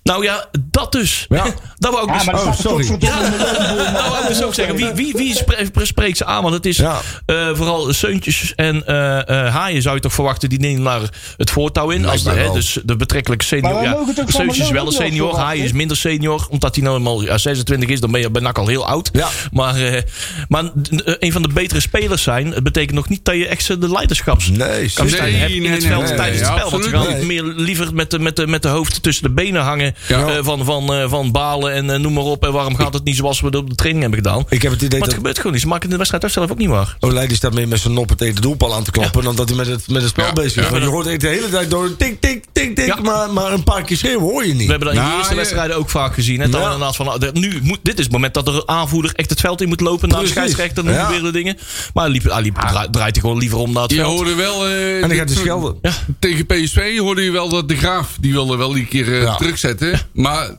Speaker 3: Nou ja, dat dus.
Speaker 4: Ja.
Speaker 3: *laughs* dat wou ik
Speaker 6: Ja,
Speaker 3: dus
Speaker 6: maar
Speaker 4: Oh,
Speaker 6: dat staat
Speaker 4: sorry.
Speaker 6: toch verdomme in de loonboom,
Speaker 3: Nou,
Speaker 6: man.
Speaker 3: wou ik dus ook zeggen. Wie, wie, wie spre- spreekt ze aan? Want het is
Speaker 4: Ja.
Speaker 3: eh, vooral Seuntjes en eh, eh, Haaien zou je toch verwachten. Die nemen daar het voortouw in. Als de,
Speaker 4: Blijkbaar
Speaker 3: hè,
Speaker 4: wel.
Speaker 3: dus de betrekkelijke senior.
Speaker 6: Maar wij
Speaker 3: Ja,
Speaker 6: mogen toch van
Speaker 3: Seuntjes is
Speaker 6: Malone
Speaker 3: wel een
Speaker 6: ook wel
Speaker 3: senior.
Speaker 6: verwachten?
Speaker 3: Haaien is minder senior. Omdat hij nou eenmaal ja, 26 is. Dan ben je bijna al heel oud.
Speaker 4: Ja.
Speaker 3: Maar, eh, maar eh, een van de betere spelers zijn. Het betekent nog niet dat je echt eh, de leiderschaps
Speaker 4: Nee,
Speaker 3: kan
Speaker 4: zeker.
Speaker 5: nee,
Speaker 3: zijn, hè, Dus in
Speaker 5: nee,
Speaker 3: het
Speaker 5: nee,
Speaker 3: veld
Speaker 5: nee,
Speaker 3: tijdens
Speaker 5: nee,
Speaker 3: het spel. Want ze
Speaker 5: absoluut
Speaker 3: gaan
Speaker 4: niet.
Speaker 3: meer liever met de, met, de, met de hoofd tussen de benen hangen.
Speaker 5: Ja.
Speaker 3: eh, van, van, eh, van balen en eh, noem maar op. En waarom gaat het niet zoals we het op de training hebben gedaan?
Speaker 4: Ik heb het idee
Speaker 3: Maar het
Speaker 4: dat
Speaker 3: gebeurt gewoon niet. Ze maken de wedstrijd ook zelf ook niet waar.
Speaker 4: Olij die staat meer met zijn noppen tegen de doelpaal aan te klappen... dan dat hij met het, met het spel
Speaker 5: Ja.
Speaker 4: bezig is.
Speaker 5: Ja.
Speaker 4: Want je hoort echt de hele tijd door tik, tik, tik, tik...
Speaker 3: Ja.
Speaker 4: Maar, maar een paar keer schreeuwen hoor je
Speaker 3: We
Speaker 4: niet.
Speaker 3: hebben dat in de
Speaker 5: Nou,
Speaker 3: eerste
Speaker 5: je-
Speaker 3: wedstrijden ook vaak gezien. Hè? Dat
Speaker 4: Ja.
Speaker 3: we inderdaad van, nou, de- nu moet, dit is het moment dat de aanvoerder echt het veld in moet lopen. Naar de
Speaker 4: Precies.
Speaker 3: scheidsrechter, noem
Speaker 4: Ja.
Speaker 3: weer de dingen. Maar hij liep, hij liep, draai- draait hij gewoon liever om naar het
Speaker 5: Je
Speaker 3: veld.
Speaker 5: hoorde wel... eh,
Speaker 4: En dan gaat
Speaker 5: dit-
Speaker 4: hij schelden.
Speaker 3: Ja.
Speaker 5: Tegen PSV hoorde je wel dat de Graaf... die wilde wel die keer eh,
Speaker 4: Ja.
Speaker 5: terugzetten. Maar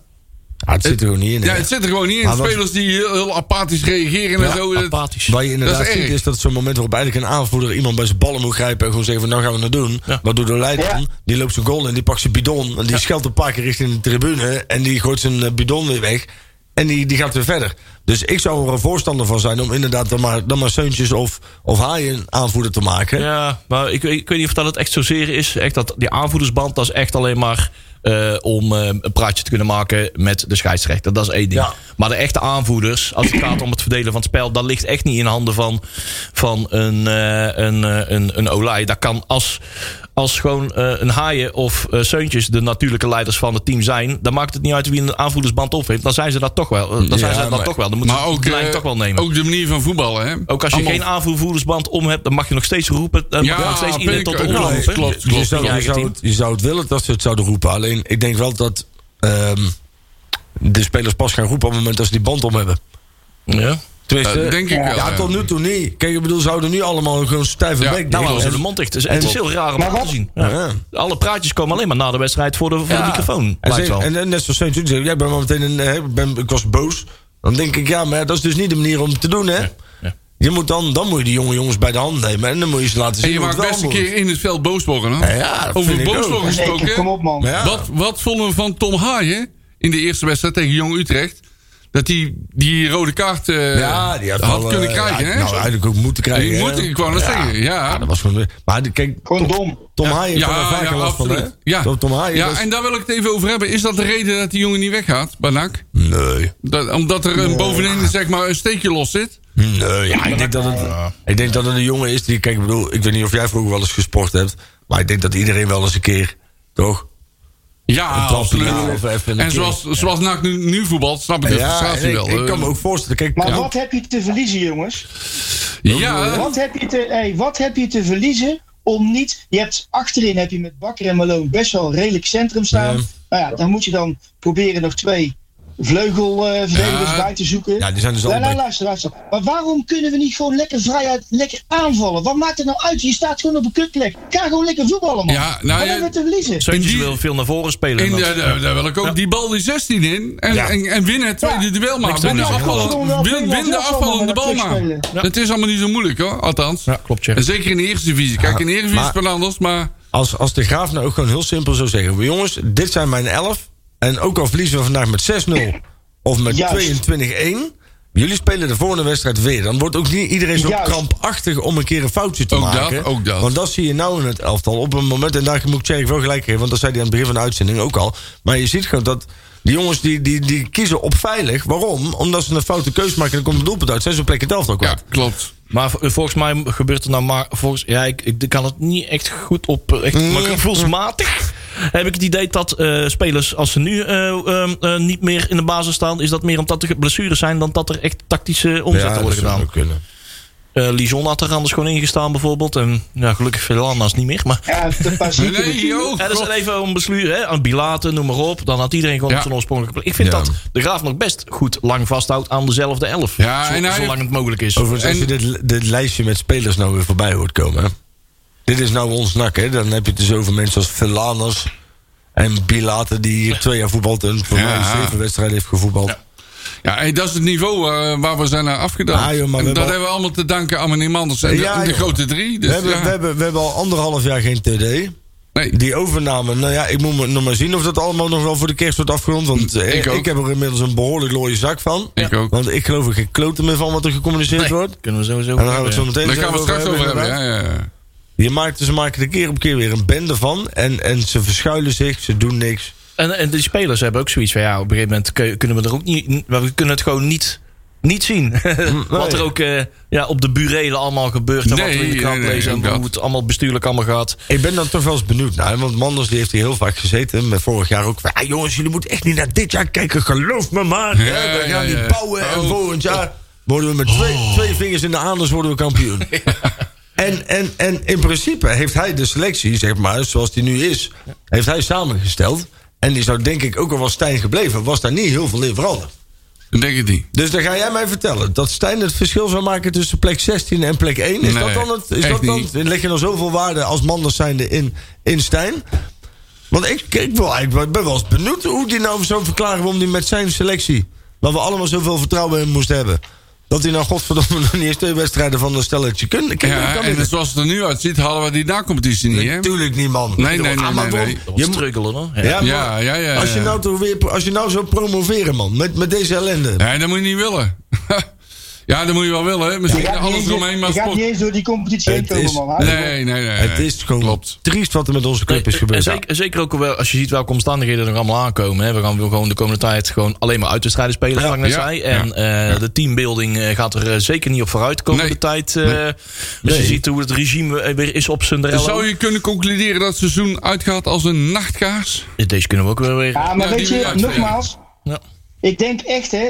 Speaker 4: Ah, het zit er gewoon niet in.
Speaker 5: ja,
Speaker 4: hè.
Speaker 5: het zit er gewoon niet in.
Speaker 4: Maar wat-
Speaker 5: Spelers die heel, heel apathisch reageren en
Speaker 4: Ja,
Speaker 5: zo. dat-
Speaker 3: Apathisch.
Speaker 4: Waar je inderdaad
Speaker 5: Dat is
Speaker 4: ziet
Speaker 5: erg.
Speaker 4: is dat zo'n moment waarop eigenlijk een aanvoerder... iemand bij zijn ballen moet grijpen en gewoon zeggen van... nou gaan we het doen.
Speaker 3: Ja.
Speaker 4: Waardoor de leider
Speaker 6: Ja.
Speaker 4: die loopt zijn goal en die pakt zijn bidon... en die scheldt een paar keer richting de tribune... en die gooit zijn eh, bidon weer weg... En die, die gaat weer verder. Dus ik zou er een voorstander van zijn om inderdaad dan maar, dan maar Seuntjes of, of Haaien aanvoerder te maken.
Speaker 3: Ja, maar ik, weet- ik weet niet of dat het echt zozeer is. Echt dat, die aanvoerdersband, dat is echt alleen maar eh, om eh, een praatje te kunnen maken met de scheidsrechter. Dat is één ding.
Speaker 4: Ja.
Speaker 3: Maar de echte aanvoerders, als het gaat om het verdelen van het spel... dat ligt echt niet in handen van, van een, eh een, eh, een, een Olij. Dat kan als, als gewoon eh, een Haaien of eh Seuntjes... de natuurlijke leiders van het team zijn... dan maakt het niet uit wie een aanvoerdersband op heeft. Dan zijn ze dat toch wel. eh, Dan zijn
Speaker 4: Ja,
Speaker 3: ze dat
Speaker 4: maar-
Speaker 3: toch wel. Dan moeten
Speaker 5: Maar
Speaker 3: ze
Speaker 5: ook,
Speaker 3: de lijn
Speaker 5: eh,
Speaker 3: toch wel nemen.
Speaker 5: ook de manier van voetballen. Hè?
Speaker 3: Ook als je geen aanvoerdersband om hebt, dan mag je nog steeds roepen. Dan
Speaker 5: Ja,
Speaker 3: mag je nog steeds
Speaker 5: vind
Speaker 3: iedereen
Speaker 5: ik
Speaker 3: tot de
Speaker 5: ook.
Speaker 3: omloop
Speaker 5: Nee,
Speaker 3: roepen.
Speaker 5: klopt,
Speaker 3: Dus
Speaker 5: klopt.
Speaker 4: Je
Speaker 3: in
Speaker 4: zou,
Speaker 3: je
Speaker 4: je,
Speaker 3: eigen
Speaker 4: zou
Speaker 3: team.
Speaker 4: het, je zou het willen dat ze het zouden roepen. Alleen ik denk wel dat ehm, de spelers pas gaan roepen op het moment dat ze die band om hebben.
Speaker 3: Ja. Nou,
Speaker 4: Tenminste,
Speaker 5: Eh, denk ik
Speaker 4: ja,
Speaker 5: wel, ja.
Speaker 4: tot nu toe niet. Kijk, ik bedoel, ze houden nu allemaal gewoon stijve
Speaker 5: Ja,
Speaker 4: bek.
Speaker 3: Nou,
Speaker 4: dicht.
Speaker 3: als ze
Speaker 4: En-
Speaker 3: de mond dicht. Het is, het is heel raar om
Speaker 6: Maar
Speaker 3: aan te
Speaker 6: wat-
Speaker 3: zien.
Speaker 4: Ja.
Speaker 3: Ja. Alle praatjes komen alleen maar na de wedstrijd voor de, voor de
Speaker 4: Ja.
Speaker 3: microfoon.
Speaker 4: En,
Speaker 3: lijkt
Speaker 4: ze-
Speaker 3: wel.
Speaker 4: en, en net zoals Saint Jude zegt, jij bent wel meteen een, hè, ik ben, ik was boos. Dan denk ik, ja, maar ja, dat is dus niet de manier om het te doen, hè?
Speaker 3: ja.
Speaker 4: Je moet dan, dan moet je die jonge jongens bij de hand nemen. En dan moet je ze laten zien.
Speaker 5: En je
Speaker 4: hoe
Speaker 5: mag
Speaker 4: het wel
Speaker 5: best een
Speaker 4: moet.
Speaker 5: keer in het veld boos worden. hoor.
Speaker 4: Ja, ja, dat
Speaker 5: Over
Speaker 4: vind ik ook.
Speaker 5: boos worden
Speaker 6: Nee,
Speaker 5: gesproken.
Speaker 6: kom op, man.
Speaker 4: Ja.
Speaker 5: Wat, wat vonden we van Tom Haaien in de eerste wedstrijd tegen Jong Utrecht? Dat hij die rode kaart eh,
Speaker 4: Ja, die heeft
Speaker 5: had
Speaker 4: wel,
Speaker 5: kunnen
Speaker 4: eh,
Speaker 5: krijgen.
Speaker 4: ja,
Speaker 5: hè?
Speaker 4: Nou, eigenlijk ook moeten krijgen.
Speaker 5: Die
Speaker 4: hè?
Speaker 5: moet- ik wou net zeggen, ja.
Speaker 4: dat was gewoon. Maar die- kijk,
Speaker 6: Gewoon dom.
Speaker 4: Tom Haaien heeft er vaker last van, hè?
Speaker 5: absoluut. Ja,
Speaker 4: Tom, Tom Haaien.
Speaker 5: ja
Speaker 4: dat is-
Speaker 5: en daar wil ik het even over hebben. Is dat de reden dat die jongen niet weggaat bij NAC?
Speaker 4: Nee.
Speaker 5: Dat, omdat er een bovenin zeg maar, een steekje los zit?
Speaker 4: Nee, ja, ik denk dat het, ik denk dat het een jongen is die... Kijk, ik bedoel, ik weet niet of jij vroeger wel eens gesport hebt... maar ik denk dat iedereen wel eens een keer, toch?
Speaker 5: Ja,
Speaker 4: trapje
Speaker 5: absoluut.
Speaker 4: naar of even een
Speaker 5: en
Speaker 4: keer.
Speaker 5: zoals, zoals NAC nu, nu voetbalt, snap ik de frustratie
Speaker 4: en ik,
Speaker 5: wel.
Speaker 4: ik kan me
Speaker 5: Eh,
Speaker 4: ook voorstellen... Kijk,
Speaker 6: Maar
Speaker 4: ja.
Speaker 6: wat heb je te verliezen, jongens?
Speaker 5: Ja,
Speaker 6: Wat heb, je te, hey, wat heb je te verliezen om niet... Je hebt, achterin heb je met Bakker en Malone best wel een redelijk centrum staan. Nou ja, dan moet je dan proberen nog twee vleugelverdedigers
Speaker 5: Ja.
Speaker 6: bij te zoeken.
Speaker 4: Ja, die zijn dus allebei-
Speaker 6: Nee, nee, luister, luister. Maar waarom kunnen we niet gewoon lekker vrijuit lekker aanvallen? Wat maakt het nou uit? Je staat gewoon op een kutplek. Ga gewoon lekker voetballen, man.
Speaker 5: Ja, nou
Speaker 6: Wat
Speaker 5: ja,
Speaker 6: hebben we te verliezen?
Speaker 3: Seuntjes
Speaker 5: In die-
Speaker 3: wil veel naar voren spelen.
Speaker 5: En
Speaker 3: en dat-
Speaker 5: daar, daar- daar wil ik ook die bal die 16 in. En, en, en win het tweede
Speaker 6: Ja.
Speaker 5: duel maar.
Speaker 3: Niks
Speaker 5: Win de,
Speaker 3: aan doen.
Speaker 5: afvallende,
Speaker 6: Ja.
Speaker 5: win, win de afvallende bal maar.
Speaker 6: Ja.
Speaker 5: Dat is allemaal niet zo moeilijk hoor, althans.
Speaker 3: Ja, klopt, Tjerk.
Speaker 5: En zeker in de eerste divisie. Kijk, in de eerste divisie is het
Speaker 4: maar-
Speaker 5: wel anders, maar...
Speaker 4: Als, als de graaf nou ook gewoon heel simpel zou zeggen: "Maar jongens, dit zijn mijn 11. En ook al verliezen we vandaag met *laughs* 6-0 of met
Speaker 6: Juist.
Speaker 4: 22-1. Jullie spelen de volgende wedstrijd weer. Dan wordt ook niet iedereen zo
Speaker 6: Juist.
Speaker 4: krampachtig om een keer een foutje te
Speaker 5: Ook dat,
Speaker 4: maken.
Speaker 5: ook dat.
Speaker 4: Want dat zie je nou in het elftal. Op een moment, en daar moet ik Tjerk wel gelijk geven, want dat zei hij aan het begin van de uitzending ook al. Maar je ziet gewoon dat die jongens die, die, die kiezen op veilig. Waarom? Omdat ze een foute keus maken en dan komt een doelpunt uit. Zijn ze op plek in het elftal
Speaker 5: Ja,
Speaker 4: kwijt.
Speaker 5: klopt.
Speaker 3: Maar v- volgens mij gebeurt er nou maar. Volgens, ja, ik, ik kan het niet echt goed op. eh, Echt, Maar gevoelsmatig heb ik het idee dat eh, spelers, als ze nu eh, ehm, eh, niet meer in de basis staan, is dat meer omdat er blessures zijn dan dat er echt tactische omzetten
Speaker 4: dat
Speaker 3: worden
Speaker 4: zou
Speaker 3: gedaan.
Speaker 4: ook kunnen.
Speaker 3: Eh Lijon had er anders gewoon ingestaan bijvoorbeeld. En ja, gelukkig Velana's niet meer. Maar
Speaker 6: Ja,
Speaker 5: *laughs*
Speaker 6: een paar zieken
Speaker 5: Nee,
Speaker 6: natuurlijk.
Speaker 5: joh.
Speaker 3: ja, dat is even een besluit. Hè, aan Bilaten, noem maar op. Dan had iedereen gewoon
Speaker 5: Ja.
Speaker 3: op zijn oorspronkelijke plek. Ik vind
Speaker 4: Ja.
Speaker 3: dat de Graaf nog best goed lang vasthoudt aan dezelfde elf.
Speaker 5: Ja,
Speaker 3: zo,
Speaker 5: en hij-
Speaker 3: zolang het mogelijk is.
Speaker 4: Overigens, als
Speaker 5: En-
Speaker 4: je dit, dit lijstje met spelers nou weer voorbij hoort komen. hè. Dit is nou ons nak, hè? Dan heb je het dus over mensen als Velanas en Bilater, die hier twee jaar voetbalt en voor
Speaker 5: Ja.
Speaker 4: mij zeven wedstrijden heeft gevoetbald.
Speaker 5: Ja, hey, dat is het niveau eh, waar we zijn naar afgedaald.
Speaker 4: Ah, joh, maar we
Speaker 5: en dat
Speaker 4: hebben al-
Speaker 5: hebben we allemaal te danken aan meneer Manders en de,
Speaker 4: Ja,
Speaker 5: en de
Speaker 4: joh.
Speaker 5: grote drie. Dus,
Speaker 4: we, hebben,
Speaker 5: ja.
Speaker 4: we, hebben, we hebben al anderhalf jaar geen TD.
Speaker 5: nee.
Speaker 4: Die overname, nou ja, ik moet maar- nog maar zien of dat allemaal nog wel voor de kerst wordt afgerond. Want eh,
Speaker 5: Ik
Speaker 4: ik,
Speaker 5: ook.
Speaker 4: ik heb er inmiddels een behoorlijk looie zak van.
Speaker 5: Ik ook.
Speaker 4: Want ik geloof er geen klote meer van wat er gecommuniceerd
Speaker 3: Nee,
Speaker 4: wordt.
Speaker 3: kunnen we sowieso.
Speaker 4: En daar gaan we het zo meteen
Speaker 5: Daar
Speaker 4: eens
Speaker 5: gaan we het
Speaker 4: even
Speaker 5: straks over hebben.
Speaker 4: inderdaad.
Speaker 5: Ja, ja, ja.
Speaker 4: Je maakt, ze maken er keer op keer weer een bende van. En, en ze verschuilen zich, ze doen niks.
Speaker 3: En, en die spelers hebben ook zoiets van ja, op een gegeven moment kun- kunnen we er ook niet. n- We kunnen het gewoon niet, niet zien. *laughs* wat er ook eh, ja, op de burelen allemaal gebeurt. En wat
Speaker 5: Nee,
Speaker 3: we in de krant
Speaker 5: nee, nee,
Speaker 3: lezen.
Speaker 5: ook
Speaker 3: en
Speaker 5: dat.
Speaker 3: hoe het allemaal bestuurlijk allemaal gaat.
Speaker 4: Ik ben dan toch wel eens benieuwd naar. Want Manders die heeft hier heel vaak gezeten. Met vorig jaar ook. van, Ah, jongens, jullie moeten echt niet naar dit jaar kijken. Geloof me maar.
Speaker 5: Ja,
Speaker 4: hè, we
Speaker 5: ja,
Speaker 4: gaan
Speaker 5: ja.
Speaker 4: niet bouwen. En
Speaker 5: Oh.
Speaker 4: volgend jaar worden we met twee, twee vingers in de anus worden we
Speaker 5: *laughs*
Speaker 4: kampioen. En, en, en in principe heeft hij de selectie, zeg maar, zoals die nu is, heeft hij samengesteld. En die zou denk ik ook al was Stijn gebleven, was daar niet heel veel in veranderd.
Speaker 5: Ik Denk het niet.
Speaker 4: Dus dan ga jij mij vertellen dat Stijn het verschil zou maken tussen plek 16 en plek 1. Is
Speaker 5: Nee,
Speaker 4: dat dan het? Is
Speaker 5: echt
Speaker 4: dat dan,
Speaker 5: niet.
Speaker 4: leg je dan zoveel waarde als Manders zijnde in, in Stijn? Want ik, ik wil eigenlijk, ik ben wel eens benieuwd hoe die nou zou verklaren waarom die met zijn selectie. waar we allemaal zoveel vertrouwen in moesten hebben. Dat hij nou godverdomme nog niet eens twee wedstrijden van een stelletje kunnen. Kijk, dat
Speaker 5: Ja,
Speaker 4: kan
Speaker 5: en
Speaker 4: niet.
Speaker 5: zoals het er nu uitziet, hadden we die na-competitie niet, hè?
Speaker 4: Natuurlijk niet, man.
Speaker 5: Nee, nee,
Speaker 4: Ah,
Speaker 5: nee,
Speaker 4: maar
Speaker 5: nee,
Speaker 4: waarom-
Speaker 5: nee.
Speaker 3: Dat
Speaker 4: Je
Speaker 3: was
Speaker 4: moet-
Speaker 3: struggelen hoor. Ja.
Speaker 4: ja,
Speaker 5: Ja,
Speaker 4: maar
Speaker 5: ja, ja,
Speaker 4: Als, je
Speaker 5: ja.
Speaker 4: nou toch weer, als je nou zou promoveren, man, met, met deze ellende.
Speaker 5: Nee, dat moet je niet willen. *laughs* ja, dat moet je wel willen. hè. Misschien
Speaker 6: Je gaat niet
Speaker 5: alles
Speaker 6: eens-
Speaker 5: eromheen, maar
Speaker 6: je gaat
Speaker 5: sport.
Speaker 6: niet eens door die competitie heen
Speaker 4: Het is-
Speaker 6: komen, man. Hou op.
Speaker 5: Nee, nee, nee.
Speaker 4: Het is gewoon
Speaker 5: Klopt.
Speaker 4: triest wat er met onze club is
Speaker 3: En- en
Speaker 4: gebeurd.
Speaker 3: zeker, zeker ook wel als je ziet welke omstandigheden er allemaal aankomen. Hè. We gaan gewoon de komende tijd gewoon alleen maar uitwedstrijden spelen, zoals ik net
Speaker 5: ja,
Speaker 3: zei.
Speaker 5: ja,
Speaker 3: En eh, de teambuilding eh, gaat er eh, zeker niet op vooruit de komende
Speaker 5: Nee.
Speaker 3: tijd. eh, Dus je ziet hoe het regime eh, weer is op zijn
Speaker 5: Dus zou je kunnen concluderen dat het seizoen uitgaat als een nachtkaars?
Speaker 3: Deze kunnen we ook wel weer.
Speaker 6: Ja, maar
Speaker 5: Nou,
Speaker 6: weet
Speaker 5: die wil
Speaker 6: je,
Speaker 5: je
Speaker 6: nogmaals,
Speaker 3: Ja.
Speaker 6: ik denk echt, hè.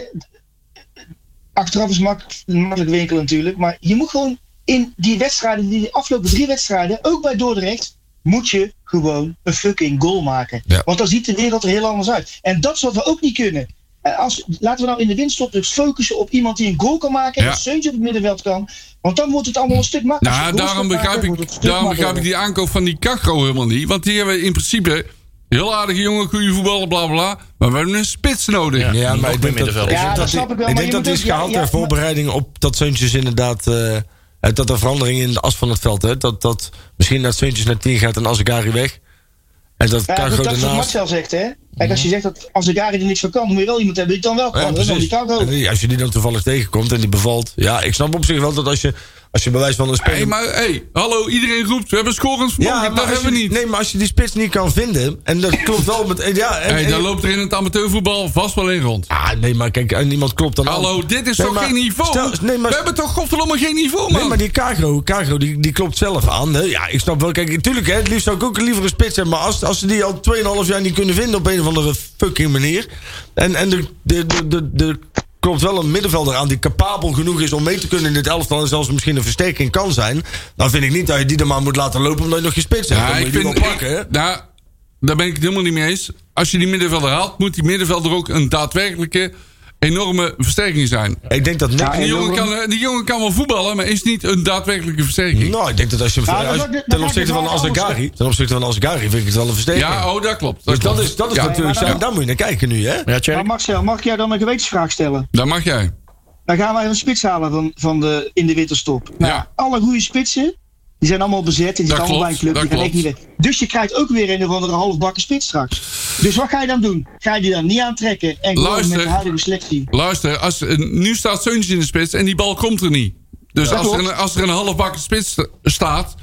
Speaker 6: Achteraf is mak makkelijk winkelen natuurlijk, maar je moet gewoon in die wedstrijden, die afgelopen drie wedstrijden, ook bij Dordrecht, moet je gewoon een fucking goal maken.
Speaker 4: Ja.
Speaker 6: Want dan ziet de wereld er heel anders uit. En dat is wat we ook niet kunnen. En als, laten we nou in de winststop dus focussen op iemand die een goal kan maken en
Speaker 5: Ja.
Speaker 6: een Seuntje op het middenveld kan. Want dan wordt het allemaal een stuk makkelijker.
Speaker 5: Nou,
Speaker 6: Goals
Speaker 5: daarom
Speaker 6: maken,
Speaker 5: begrijp
Speaker 6: wordt
Speaker 5: ik,
Speaker 6: het een stuk
Speaker 5: daarom begrijp ik
Speaker 6: makkelijker.
Speaker 5: die aankoop van die Kakko helemaal niet. Want die hebben in principe heel aardige jongen, goede voetballer, bla bla. bla, Maar we hebben een spits nodig.
Speaker 3: Ja.
Speaker 4: Ja,
Speaker 3: Nog
Speaker 4: maar
Speaker 3: meer
Speaker 4: ik denk dat,
Speaker 3: middenvelders.
Speaker 4: ik
Speaker 6: Ja,
Speaker 4: denk
Speaker 6: dat
Speaker 4: die-
Speaker 6: snap ik wel,
Speaker 4: Ik
Speaker 6: maar
Speaker 4: denk
Speaker 6: je
Speaker 4: dat
Speaker 6: moet
Speaker 4: dit
Speaker 6: ook-
Speaker 4: is
Speaker 6: ja,
Speaker 4: gehaald
Speaker 6: ja,
Speaker 4: ter
Speaker 6: maar-
Speaker 4: voorbereiding op dat Zeuntjes inderdaad... eh, eh, dat er verandering in de as van het veld... Hè? Dat, dat misschien dat Zeuntjes naar 10 gaat en Azegari weg. En dat
Speaker 6: Ja, goed,
Speaker 4: Cargo
Speaker 6: dat is wat
Speaker 4: daarnaast...
Speaker 6: Marcel zegt, hè? Kijk, als je
Speaker 5: Mhm.
Speaker 6: zegt dat als de Gary er niks van kan, moet je wel iemand hebben die het dan wel kan.
Speaker 4: Ja,
Speaker 6: dat is dan die
Speaker 4: precies.
Speaker 6: Cargo.
Speaker 4: En die- als je die dan toevallig tegenkomt en die bevalt... Ja, ik snap op zich wel dat als je, als je bewijs van een
Speaker 5: Hé,
Speaker 4: speler...
Speaker 5: maar hey, hallo, iedereen roept. We hebben scorend vermogen. dat
Speaker 4: als
Speaker 5: hebben we
Speaker 4: je,
Speaker 5: niet.
Speaker 4: Nee, maar als je die spits niet kan vinden...
Speaker 5: *coughs*
Speaker 4: En dat klopt wel met... en Ja, en,
Speaker 5: hey,
Speaker 4: en-
Speaker 5: daar loopt er in het amateurvoetbal vast wel in rond.
Speaker 4: Ah, nee, maar kijk, en iemand klopt dan aan.
Speaker 5: Hallo, dit is
Speaker 4: Nee,
Speaker 5: toch
Speaker 4: maar
Speaker 5: geen niveau?
Speaker 4: stel- nee, maar
Speaker 5: we hebben toch godverdomme geen niveau, man?
Speaker 4: Nee, maar die Cargo, Cargo die, die klopt zelf aan. Hè? Ja, ik snap wel. Kijk, natuurlijk, hè, het liefst zou ik ook liever een spits hebben. Maar als, als ze die al 2,5 jaar niet kunnen vinden op een of andere fucking manier. En, en er de, de, de, de klopt wel een middenvelder aan die capabel genoeg is om mee te kunnen in dit elftal. En zelfs misschien een versterking kan zijn. Dan vind ik niet dat je die er maar moet laten lopen omdat je nog geen spits hebt.
Speaker 5: Ja,
Speaker 4: dan moet
Speaker 5: ik
Speaker 4: je die
Speaker 5: vind...
Speaker 4: wel pakken. hè.
Speaker 5: ik- nou, daar ben ik het helemaal niet mee eens. als je die middenvelder haalt, moet die middenvelder ook een daadwerkelijke enorme versterking zijn.
Speaker 4: Ik denk dat niks.
Speaker 5: Die jongen, kan, eh, die jongen kan wel voetballen, maar is niet een daadwerkelijke versterking.
Speaker 4: Nou, ik denk dat als je.
Speaker 6: Nou, dan
Speaker 4: als-
Speaker 6: maakt het- dan
Speaker 4: ten
Speaker 6: maakt
Speaker 4: opzichte
Speaker 6: het
Speaker 4: van
Speaker 6: wel anders,
Speaker 4: Azagari. Ten opzichte van Azagari vind ik het wel een versterking.
Speaker 5: Ja, oh, dat klopt.
Speaker 4: dus dat
Speaker 5: klopt.
Speaker 4: is, dat is
Speaker 5: Ja,
Speaker 4: natuurlijk.
Speaker 6: maar
Speaker 4: zijn- Daar moet je naar kijken nu, hè?
Speaker 3: Ja, Tjerk?
Speaker 6: Maar Marcel, mag ik jou dan een gewetensvraag stellen?
Speaker 5: Dat mag jij.
Speaker 6: Dan gaan wij een spits halen van, van de, in de winterstop. Nou,
Speaker 5: Ja.
Speaker 6: alle goede spitsen, die zijn allemaal bezet. En
Speaker 5: Dat
Speaker 6: die zijn allemaal bij een
Speaker 5: klopt,
Speaker 6: club. Die
Speaker 5: dat
Speaker 6: gaan echt niet
Speaker 5: klopt.
Speaker 6: weg. Dus je krijgt ook weer een of andere halfbakken spits straks. Dus wat ga je dan doen? Ga je die dan niet aantrekken? En gewoon
Speaker 5: Luister.
Speaker 6: met de huidige selectie.
Speaker 5: Luister, als, eh, nu staat Suntje in de spits en die bal komt er niet. Dus
Speaker 6: Ja,
Speaker 5: als, er
Speaker 6: klopt.
Speaker 5: een, als er een halfbak spits sta- staat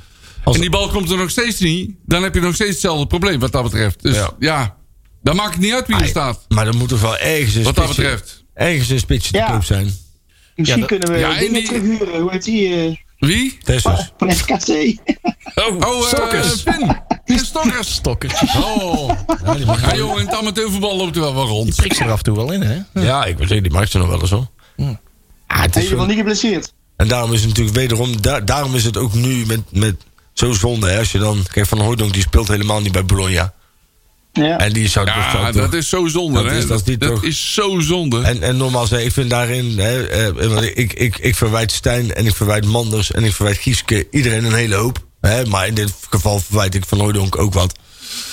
Speaker 5: en die bal komt er nog steeds niet... dan heb je nog steeds hetzelfde probleem wat dat betreft. Dus
Speaker 4: Ja.
Speaker 5: ja, dan maakt het niet uit wie er staat.
Speaker 4: Maar dan moet er wel ergens een
Speaker 5: Wat dat
Speaker 4: spitsje-
Speaker 5: betreft.
Speaker 4: Ergens een spitsje te
Speaker 6: Ja.
Speaker 4: koop zijn.
Speaker 6: Misschien
Speaker 3: dat-
Speaker 6: kunnen we
Speaker 5: Ja, en
Speaker 6: dingen
Speaker 5: die-
Speaker 6: terughuren. Hoe heet die? eh,
Speaker 5: Wie?
Speaker 4: Tessus.
Speaker 6: van FKC.
Speaker 5: Oh, eh, *laughs*
Speaker 3: Stokkers.
Speaker 5: Pin. Pin Stokkers.
Speaker 3: Stokkers.
Speaker 5: Oh. Ja, jongen, in het amateurvoetbal loopt er wel wel rond.
Speaker 3: Prikt ze er af en toe wel in, hè?
Speaker 4: Ja, ik weet het, die maakt ze nog wel eens hoor. Ah, het
Speaker 6: Hij
Speaker 4: is
Speaker 6: is wel
Speaker 4: wel-
Speaker 6: niet geblesseerd.
Speaker 4: En daarom is het natuurlijk wederom, da- daarom is het ook nu met, met zo zonde. Hè? Als je dan, kijk, Van Hooydonk die speelt helemaal niet bij Bologna.
Speaker 6: Ja.
Speaker 4: En die zou best wel
Speaker 5: Ja,
Speaker 4: doen.
Speaker 5: dat is zo zonde.
Speaker 4: Dat
Speaker 5: hè.
Speaker 4: is- dat is niet toch-
Speaker 5: is zo zonde.
Speaker 4: En, en normaal zei, ik vind daarin, hè, eh, want ik, ik, ik verwijt Stijn en ik verwijt Manders en ik verwijt Gieske, iedereen een hele hoop. Hè, maar in dit geval verwijt ik Van Hooydonk ook wat.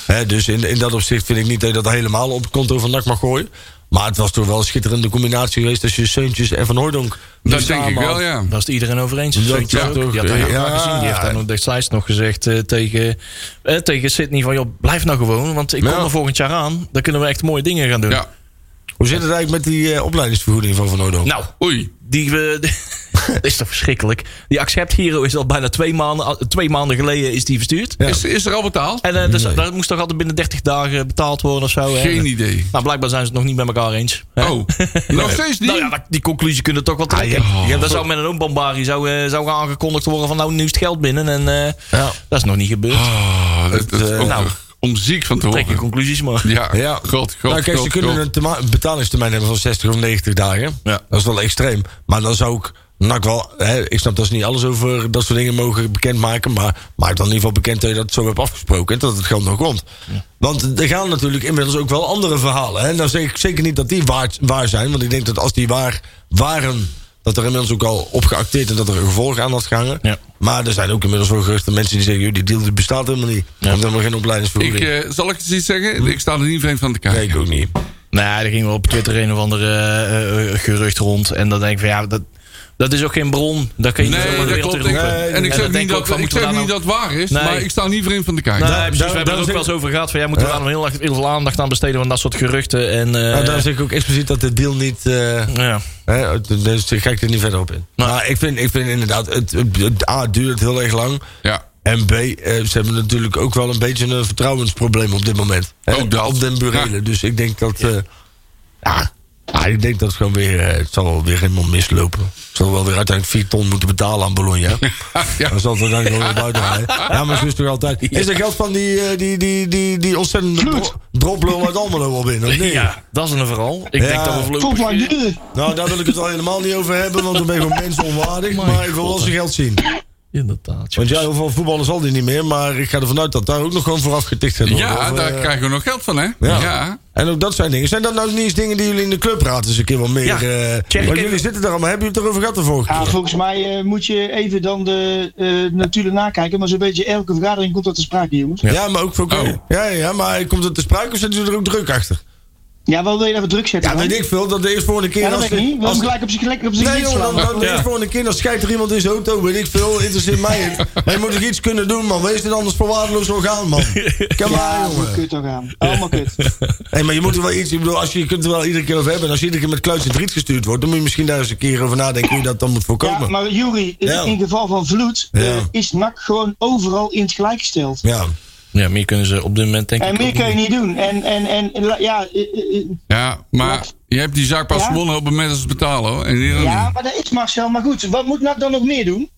Speaker 4: Hè, dus in, in dat opzicht vind ik niet dat je dat helemaal op het konto van NAC mag gooien. Maar het was toch wel een schitterende combinatie geweest als je Seuntjes en Van Hooydonk
Speaker 5: Dat denk ik wel, ja.
Speaker 3: Daar is het iedereen over eens. Zeuntjes
Speaker 4: ja,
Speaker 3: ook.
Speaker 4: toch?
Speaker 3: Die had dat
Speaker 4: Ja.
Speaker 3: ook maar gezien. Die heeft dan op de slides nog gezegd eh, tegen, eh, tegen Sydney van... Joh, blijf nou gewoon, want ik
Speaker 4: Ja.
Speaker 3: kom er volgend jaar aan. Dan kunnen we echt mooie dingen gaan doen.
Speaker 5: Ja,
Speaker 4: Hoe zit het eigenlijk met die eh, opleidingsvergoeding van Van Hooydonk?
Speaker 3: Nou,
Speaker 5: oei.
Speaker 3: die we... *laughs* dat is toch verschrikkelijk. Die Accept Hero is al bijna twee maanden, twee maanden geleden is die verstuurd.
Speaker 4: Ja.
Speaker 5: Is, is er al betaald?
Speaker 3: En eh, dus,
Speaker 4: Nee.
Speaker 3: dat moest toch altijd binnen 30 dagen betaald worden of zo. hè?
Speaker 5: Geen idee.
Speaker 3: Nou, blijkbaar zijn ze het nog niet met elkaar eens. hè?
Speaker 5: Oh, nog steeds niet?
Speaker 3: Nou ja, dat- die conclusie kunnen we toch wel trekken.
Speaker 4: Ah, ja.
Speaker 3: Ja, dat zou met een oombambarie zou, eh, zou aangekondigd worden van nou nu is het geld binnen. En eh,
Speaker 4: Ja.
Speaker 3: dat is nog niet gebeurd.
Speaker 5: Ah, dat, dat is
Speaker 4: eh,
Speaker 5: ook
Speaker 3: nou.
Speaker 5: om ziek van te
Speaker 3: Trek je
Speaker 5: horen.
Speaker 3: conclusies maar.
Speaker 5: Ja,
Speaker 4: Ja.
Speaker 5: ja. God, God,
Speaker 4: Nou, kijk, ze
Speaker 5: God,
Speaker 4: kunnen
Speaker 5: God.
Speaker 4: een terma- betalingstermijn hebben van 60 of 90 dagen.
Speaker 3: Ja.
Speaker 4: Dat is wel extreem. Maar dan zou ik NAC wel... Hè, ik snap dat ze niet alles over dat soort dingen mogen bekendmaken. Maar maak dan in ieder geval bekend dat je dat zo hebt afgesproken. En dat het geld nog komt. Want er gaan natuurlijk inmiddels ook wel andere verhalen. Hè. Nou zeg ik zeker niet dat die waar, waar zijn. Want ik denk dat als die waar waren... dat er inmiddels ook al op geacteerd en dat er een gevolg aan had gehangen.
Speaker 3: Ja.
Speaker 4: Maar er zijn ook inmiddels wel geruchten mensen die zeggen... "Joh, die deal die bestaat helemaal niet. Ja. Omdat we geen
Speaker 5: Ik,
Speaker 4: opleidingsvergoeding...
Speaker 5: eh, zal ik eens iets zeggen? Ik sta er niet vreemd van te kijken.
Speaker 4: nee, ik ook niet.
Speaker 3: Nou, er ging wel op Twitter een of andere eh, eh, gerucht rond. En dan denk ik van ja, dat, dat is ook geen bron. Daar kun je
Speaker 5: Nee,
Speaker 3: niet zomaar de
Speaker 5: dat
Speaker 3: wereld
Speaker 5: klopt.
Speaker 3: in
Speaker 5: Ik-
Speaker 3: roepen.
Speaker 5: en ik zeg
Speaker 3: dan
Speaker 5: niet
Speaker 3: denk
Speaker 5: dat,
Speaker 3: van,
Speaker 5: ik
Speaker 3: moeten we
Speaker 5: zeg
Speaker 3: daar
Speaker 5: niet
Speaker 3: nou-
Speaker 5: dat het waar is,
Speaker 3: Nee.
Speaker 5: maar ik sta niet vreemd van te kijken.
Speaker 3: Nou, Nee, precies.
Speaker 4: daar-
Speaker 3: we hebben
Speaker 4: daar
Speaker 3: er ook
Speaker 4: zeg-
Speaker 3: wel eens over gehad. Van, ja, moeten we
Speaker 4: Ja.
Speaker 3: daar nou heel, erg- heel veel aandacht aan besteden? van dat soort geruchten. En, eh,
Speaker 4: Nou, daar zeg ik ook expliciet dat de deal niet. eh,
Speaker 3: ja.
Speaker 4: hè, dus daar ga ik er niet verder op in.
Speaker 5: Nou.
Speaker 3: Nee.
Speaker 4: Maar ik vind, ik vind inderdaad, het, het- het- A, het duurt heel erg lang.
Speaker 5: Ja.
Speaker 4: En B, eh, ze hebben natuurlijk ook wel een beetje een vertrouwensprobleem op dit moment. Hè,
Speaker 5: Ook Oh, dat.
Speaker 4: Op den burelen.
Speaker 5: Ja.
Speaker 4: Dus ik denk dat. eh, ja, ja, ik denk dat het gewoon weer. eh, het zal wel weer helemaal mislopen. Ik zal wel weer uiteindelijk 4 ton moeten betalen aan Bologna.
Speaker 5: ja.
Speaker 4: *laughs* Dan zal het dan gewoon weer buiten gaan, hè. Ja, maar zo is het toch altijd. Is er geld van die, eh, die, die, die, die ontzettende dro droplul uit Almelo op in? Of niet?
Speaker 3: ja, dat is een vooral. Ik
Speaker 4: Ja.
Speaker 3: denk dat we
Speaker 6: Tot lang
Speaker 3: voorlopig...
Speaker 6: duren.
Speaker 4: Nou, daar wil ik het al helemaal niet over hebben, want dan ben je gewoon mensonwaardig. Maar ik wil wel zijn geld zien.
Speaker 3: Inderdaad.
Speaker 4: Want ja, heel veel voetballers zal die niet meer, maar ik ga ervan uit dat daar ook nog gewoon voor afgetikt gaat worden.
Speaker 5: Ja,
Speaker 4: Of,
Speaker 5: daar
Speaker 4: eh,
Speaker 5: krijgen we nog geld van, hè?
Speaker 4: ja.
Speaker 5: Ja.
Speaker 4: En ook dat zijn dingen. Zijn dat nou niet eens dingen die jullie in de clubraad eens een keer wat meer...
Speaker 3: Ja,
Speaker 4: eh,
Speaker 3: check
Speaker 4: want
Speaker 3: even.
Speaker 4: jullie zitten daar allemaal, hebben jullie het erover gehad de vorige
Speaker 6: Ja,
Speaker 4: keer?
Speaker 6: volgens mij eh, moet je even dan de eh, natuurlijk nakijken. Maar zo'n beetje elke vergadering komt dat te sprake, jongens.
Speaker 4: Ja, maar ook voor...
Speaker 5: Oh.
Speaker 4: Ja, ja, maar komt het te sprake of zitten ze er ook druk achter?
Speaker 6: Ja, wel wil je even druk zetten.
Speaker 4: Ja,
Speaker 6: man?
Speaker 4: weet ik veel, dat de eerst volgende keer...
Speaker 6: Ja, dat
Speaker 4: als
Speaker 6: weet ik
Speaker 4: de-
Speaker 6: niet. We
Speaker 4: als-
Speaker 6: hem gelijk op zijn gelijk op zijn
Speaker 4: Nee,
Speaker 6: gezicht
Speaker 4: joh, dan,
Speaker 6: slaan.
Speaker 4: dan de eerst volgende keer dan schijt er iemand in zijn auto, weet ik veel. Interesseert mij het. Maar je moet toch iets kunnen doen, man. Wees dit anders voor waardeloos orgaan, man. Kom maar,
Speaker 6: Ja, hoe
Speaker 4: jongen.
Speaker 6: kut toch aan. Allemaal kut.
Speaker 4: Hé, maar je moet er wel iets. Ik bedoel, als je, je kunt er wel iedere keer over hebben. En als je iedere keer met kluis en driet gestuurd wordt, dan moet je misschien daar eens een keer over nadenken hoe je dat dan moet voorkomen.
Speaker 6: Ja,
Speaker 4: Ja,
Speaker 6: maar Jury, in,
Speaker 4: Ja.
Speaker 6: in geval van vloed
Speaker 4: Ja.
Speaker 6: eh, is NAC gewoon overal in het gelijk gesteld.
Speaker 3: Ja, meer kunnen ze op dit moment denk ik
Speaker 6: En meer
Speaker 3: ook
Speaker 6: kun je
Speaker 3: niet.
Speaker 6: niet doen. En, en, en la- ja, eh, eh, eh,
Speaker 5: Ja, maar je hebt die zaak pas
Speaker 6: Ja.
Speaker 5: gewonnen op het moment dat ze betalen, hoor. En die dan
Speaker 6: ja,
Speaker 5: niet.
Speaker 6: maar dat is Marcel. Maar goed, wat moet NAC dan nog meer doen?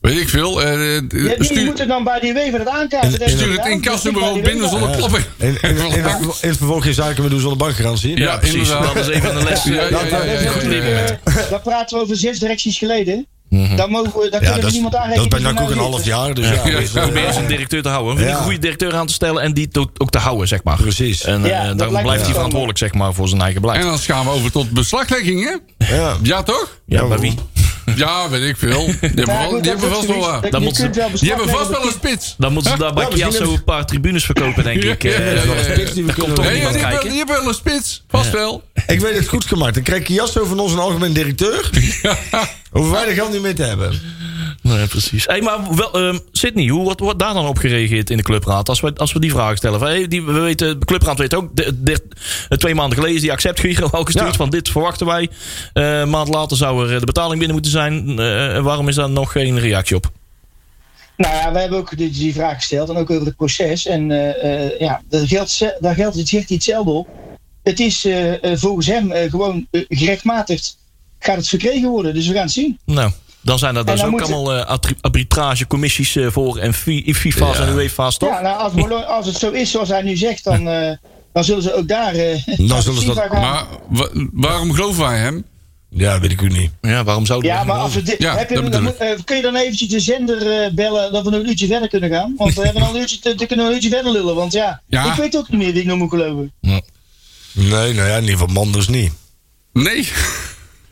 Speaker 5: Weet ik veel. eh, eh,
Speaker 6: Ja, die
Speaker 5: stuur,
Speaker 6: moeten dan bij die wever dat aankaarten. Dat
Speaker 5: stuur
Speaker 6: is
Speaker 5: het
Speaker 6: gedaan.
Speaker 5: in kassen
Speaker 6: Dat is
Speaker 5: bureau
Speaker 6: bij die
Speaker 5: binnen
Speaker 6: wever.
Speaker 5: zonder klappen.
Speaker 4: In, in, in, in,
Speaker 5: Ja,
Speaker 4: het- in het vervolg geen zaken meer doen zonder bankgarantie.
Speaker 3: Ja, precies.
Speaker 5: inderdaad.
Speaker 3: Dat is even een les.
Speaker 5: Ja, ja,
Speaker 4: dat-
Speaker 5: ja, ja,
Speaker 6: Dat
Speaker 5: ja,
Speaker 6: is
Speaker 5: ja.
Speaker 6: natuurlijk, eh, Daar praten we over zes directies geleden. Daar, mogen we, daar
Speaker 4: Mhm. Ja,
Speaker 6: kunnen
Speaker 4: dat
Speaker 6: we
Speaker 4: is,
Speaker 6: niemand
Speaker 4: dat
Speaker 6: aanrekenen.
Speaker 4: is bij
Speaker 6: die
Speaker 4: NAC ook
Speaker 6: nou
Speaker 4: een
Speaker 6: zitten.
Speaker 4: half jaar. Dus ja,
Speaker 5: Ja.
Speaker 4: dus, eh,
Speaker 3: Probeer eens een directeur te houden. Vind ik
Speaker 4: Ja.
Speaker 3: Een goede directeur aan te stellen en die to- ook te houden, zeg maar.
Speaker 4: Precies.
Speaker 3: En eh,
Speaker 6: Ja, dat lijkt
Speaker 3: daarom
Speaker 6: me
Speaker 3: blijft hij
Speaker 6: wel.
Speaker 3: verantwoordelijk, zeg maar, voor zijn eigen
Speaker 5: En
Speaker 3: beleid.
Speaker 5: dan gaan we over tot beslaglegging, hè?
Speaker 4: ja.
Speaker 5: Ja, toch?
Speaker 3: Ja, maar
Speaker 4: waarom?
Speaker 3: wie?
Speaker 5: Ja, weet ik veel. Die hebben,
Speaker 6: Ja,
Speaker 5: wel-
Speaker 6: goed,
Speaker 5: die
Speaker 6: dat
Speaker 5: hebben
Speaker 6: is
Speaker 5: vast
Speaker 6: zoiets.
Speaker 5: wel... eh,
Speaker 6: Dat- je
Speaker 3: moet-
Speaker 6: kunt wel
Speaker 5: Die hebben
Speaker 6: beslag
Speaker 5: vast wel
Speaker 6: leggen
Speaker 5: een
Speaker 6: op
Speaker 5: spits.
Speaker 3: Dan moeten ze daar bij
Speaker 4: Ja, misschien
Speaker 3: Chiasso
Speaker 4: hebben-
Speaker 3: een paar tribunes verkopen, *laughs* denk ik. eh.
Speaker 5: Ja, ja, ja, ja.
Speaker 3: Daar komt toch
Speaker 5: Nee, die
Speaker 3: niemand
Speaker 5: hebben-
Speaker 3: kijken?
Speaker 5: die hebben wel een spits. Vast wel.
Speaker 4: Ik weet het goed gemaakt. Dan krijg je Jasso van ons een algemeen directeur. Hoeven wij er geld niet meer te hebben.
Speaker 3: Nee, precies. Hey, maar wel, ehm, Sydney, hoe wordt, wordt daar dan op gereageerd in de clubraad? Als we, als we die vragen stellen. Van, hey, die, we weten, de clubraad weet ook, de- de- de- twee maanden geleden is die accept Giro *laughs* al gestuurd.
Speaker 4: Ja.
Speaker 3: Van dit verwachten wij. Eh, Een maand later zou er eh, de betaling binnen moeten zijn. Eh, waarom is daar nog geen reactie op?
Speaker 6: Nou ja, wij hebben ook die, die vraag gesteld en ook over het proces. En eh, eh, ja, daar geldt, ze- daar geldt het zegt hij hetzelfde op. Het is eh, eh, volgens hem eh, gewoon eh, gerechtmatigd gaat het verkregen worden. Dus we gaan het zien.
Speaker 3: Nou, dan zijn er dus
Speaker 6: dan
Speaker 3: ook
Speaker 6: moeten-
Speaker 3: allemaal eh, attri- arbitragecommissies eh, voor. En fi- FIFA's en UEFA's toch?
Speaker 6: Ja, nou, als, Bolo- als het zo is zoals hij nu zegt, dan, eh, dan zullen ze ook daar. eh, naar *laughs*
Speaker 4: zullen ze dat-
Speaker 6: FIFA gaan.
Speaker 5: Maar wa- waarom geloven wij hem?
Speaker 4: Ja, weet ik ook niet.
Speaker 3: Ja, waarom zouden we dat
Speaker 6: nou- Ja, maar
Speaker 3: doen?
Speaker 6: als we dit,
Speaker 5: Ja,
Speaker 6: heb je,
Speaker 5: dat
Speaker 6: dan,
Speaker 5: bedoel
Speaker 6: moet- eh, kun je dan eventjes de zender eh, bellen dat we nog een uurtje verder kunnen gaan? Want we hebben al een uurtje, te- te kunnen we een uurtje verder lullen. Want ja,
Speaker 5: Ja.
Speaker 6: ik weet ook niet meer wie ik nog moet geloven.
Speaker 4: Nee, nou ja, in ieder geval Manders niet.
Speaker 5: Nee. *laughs*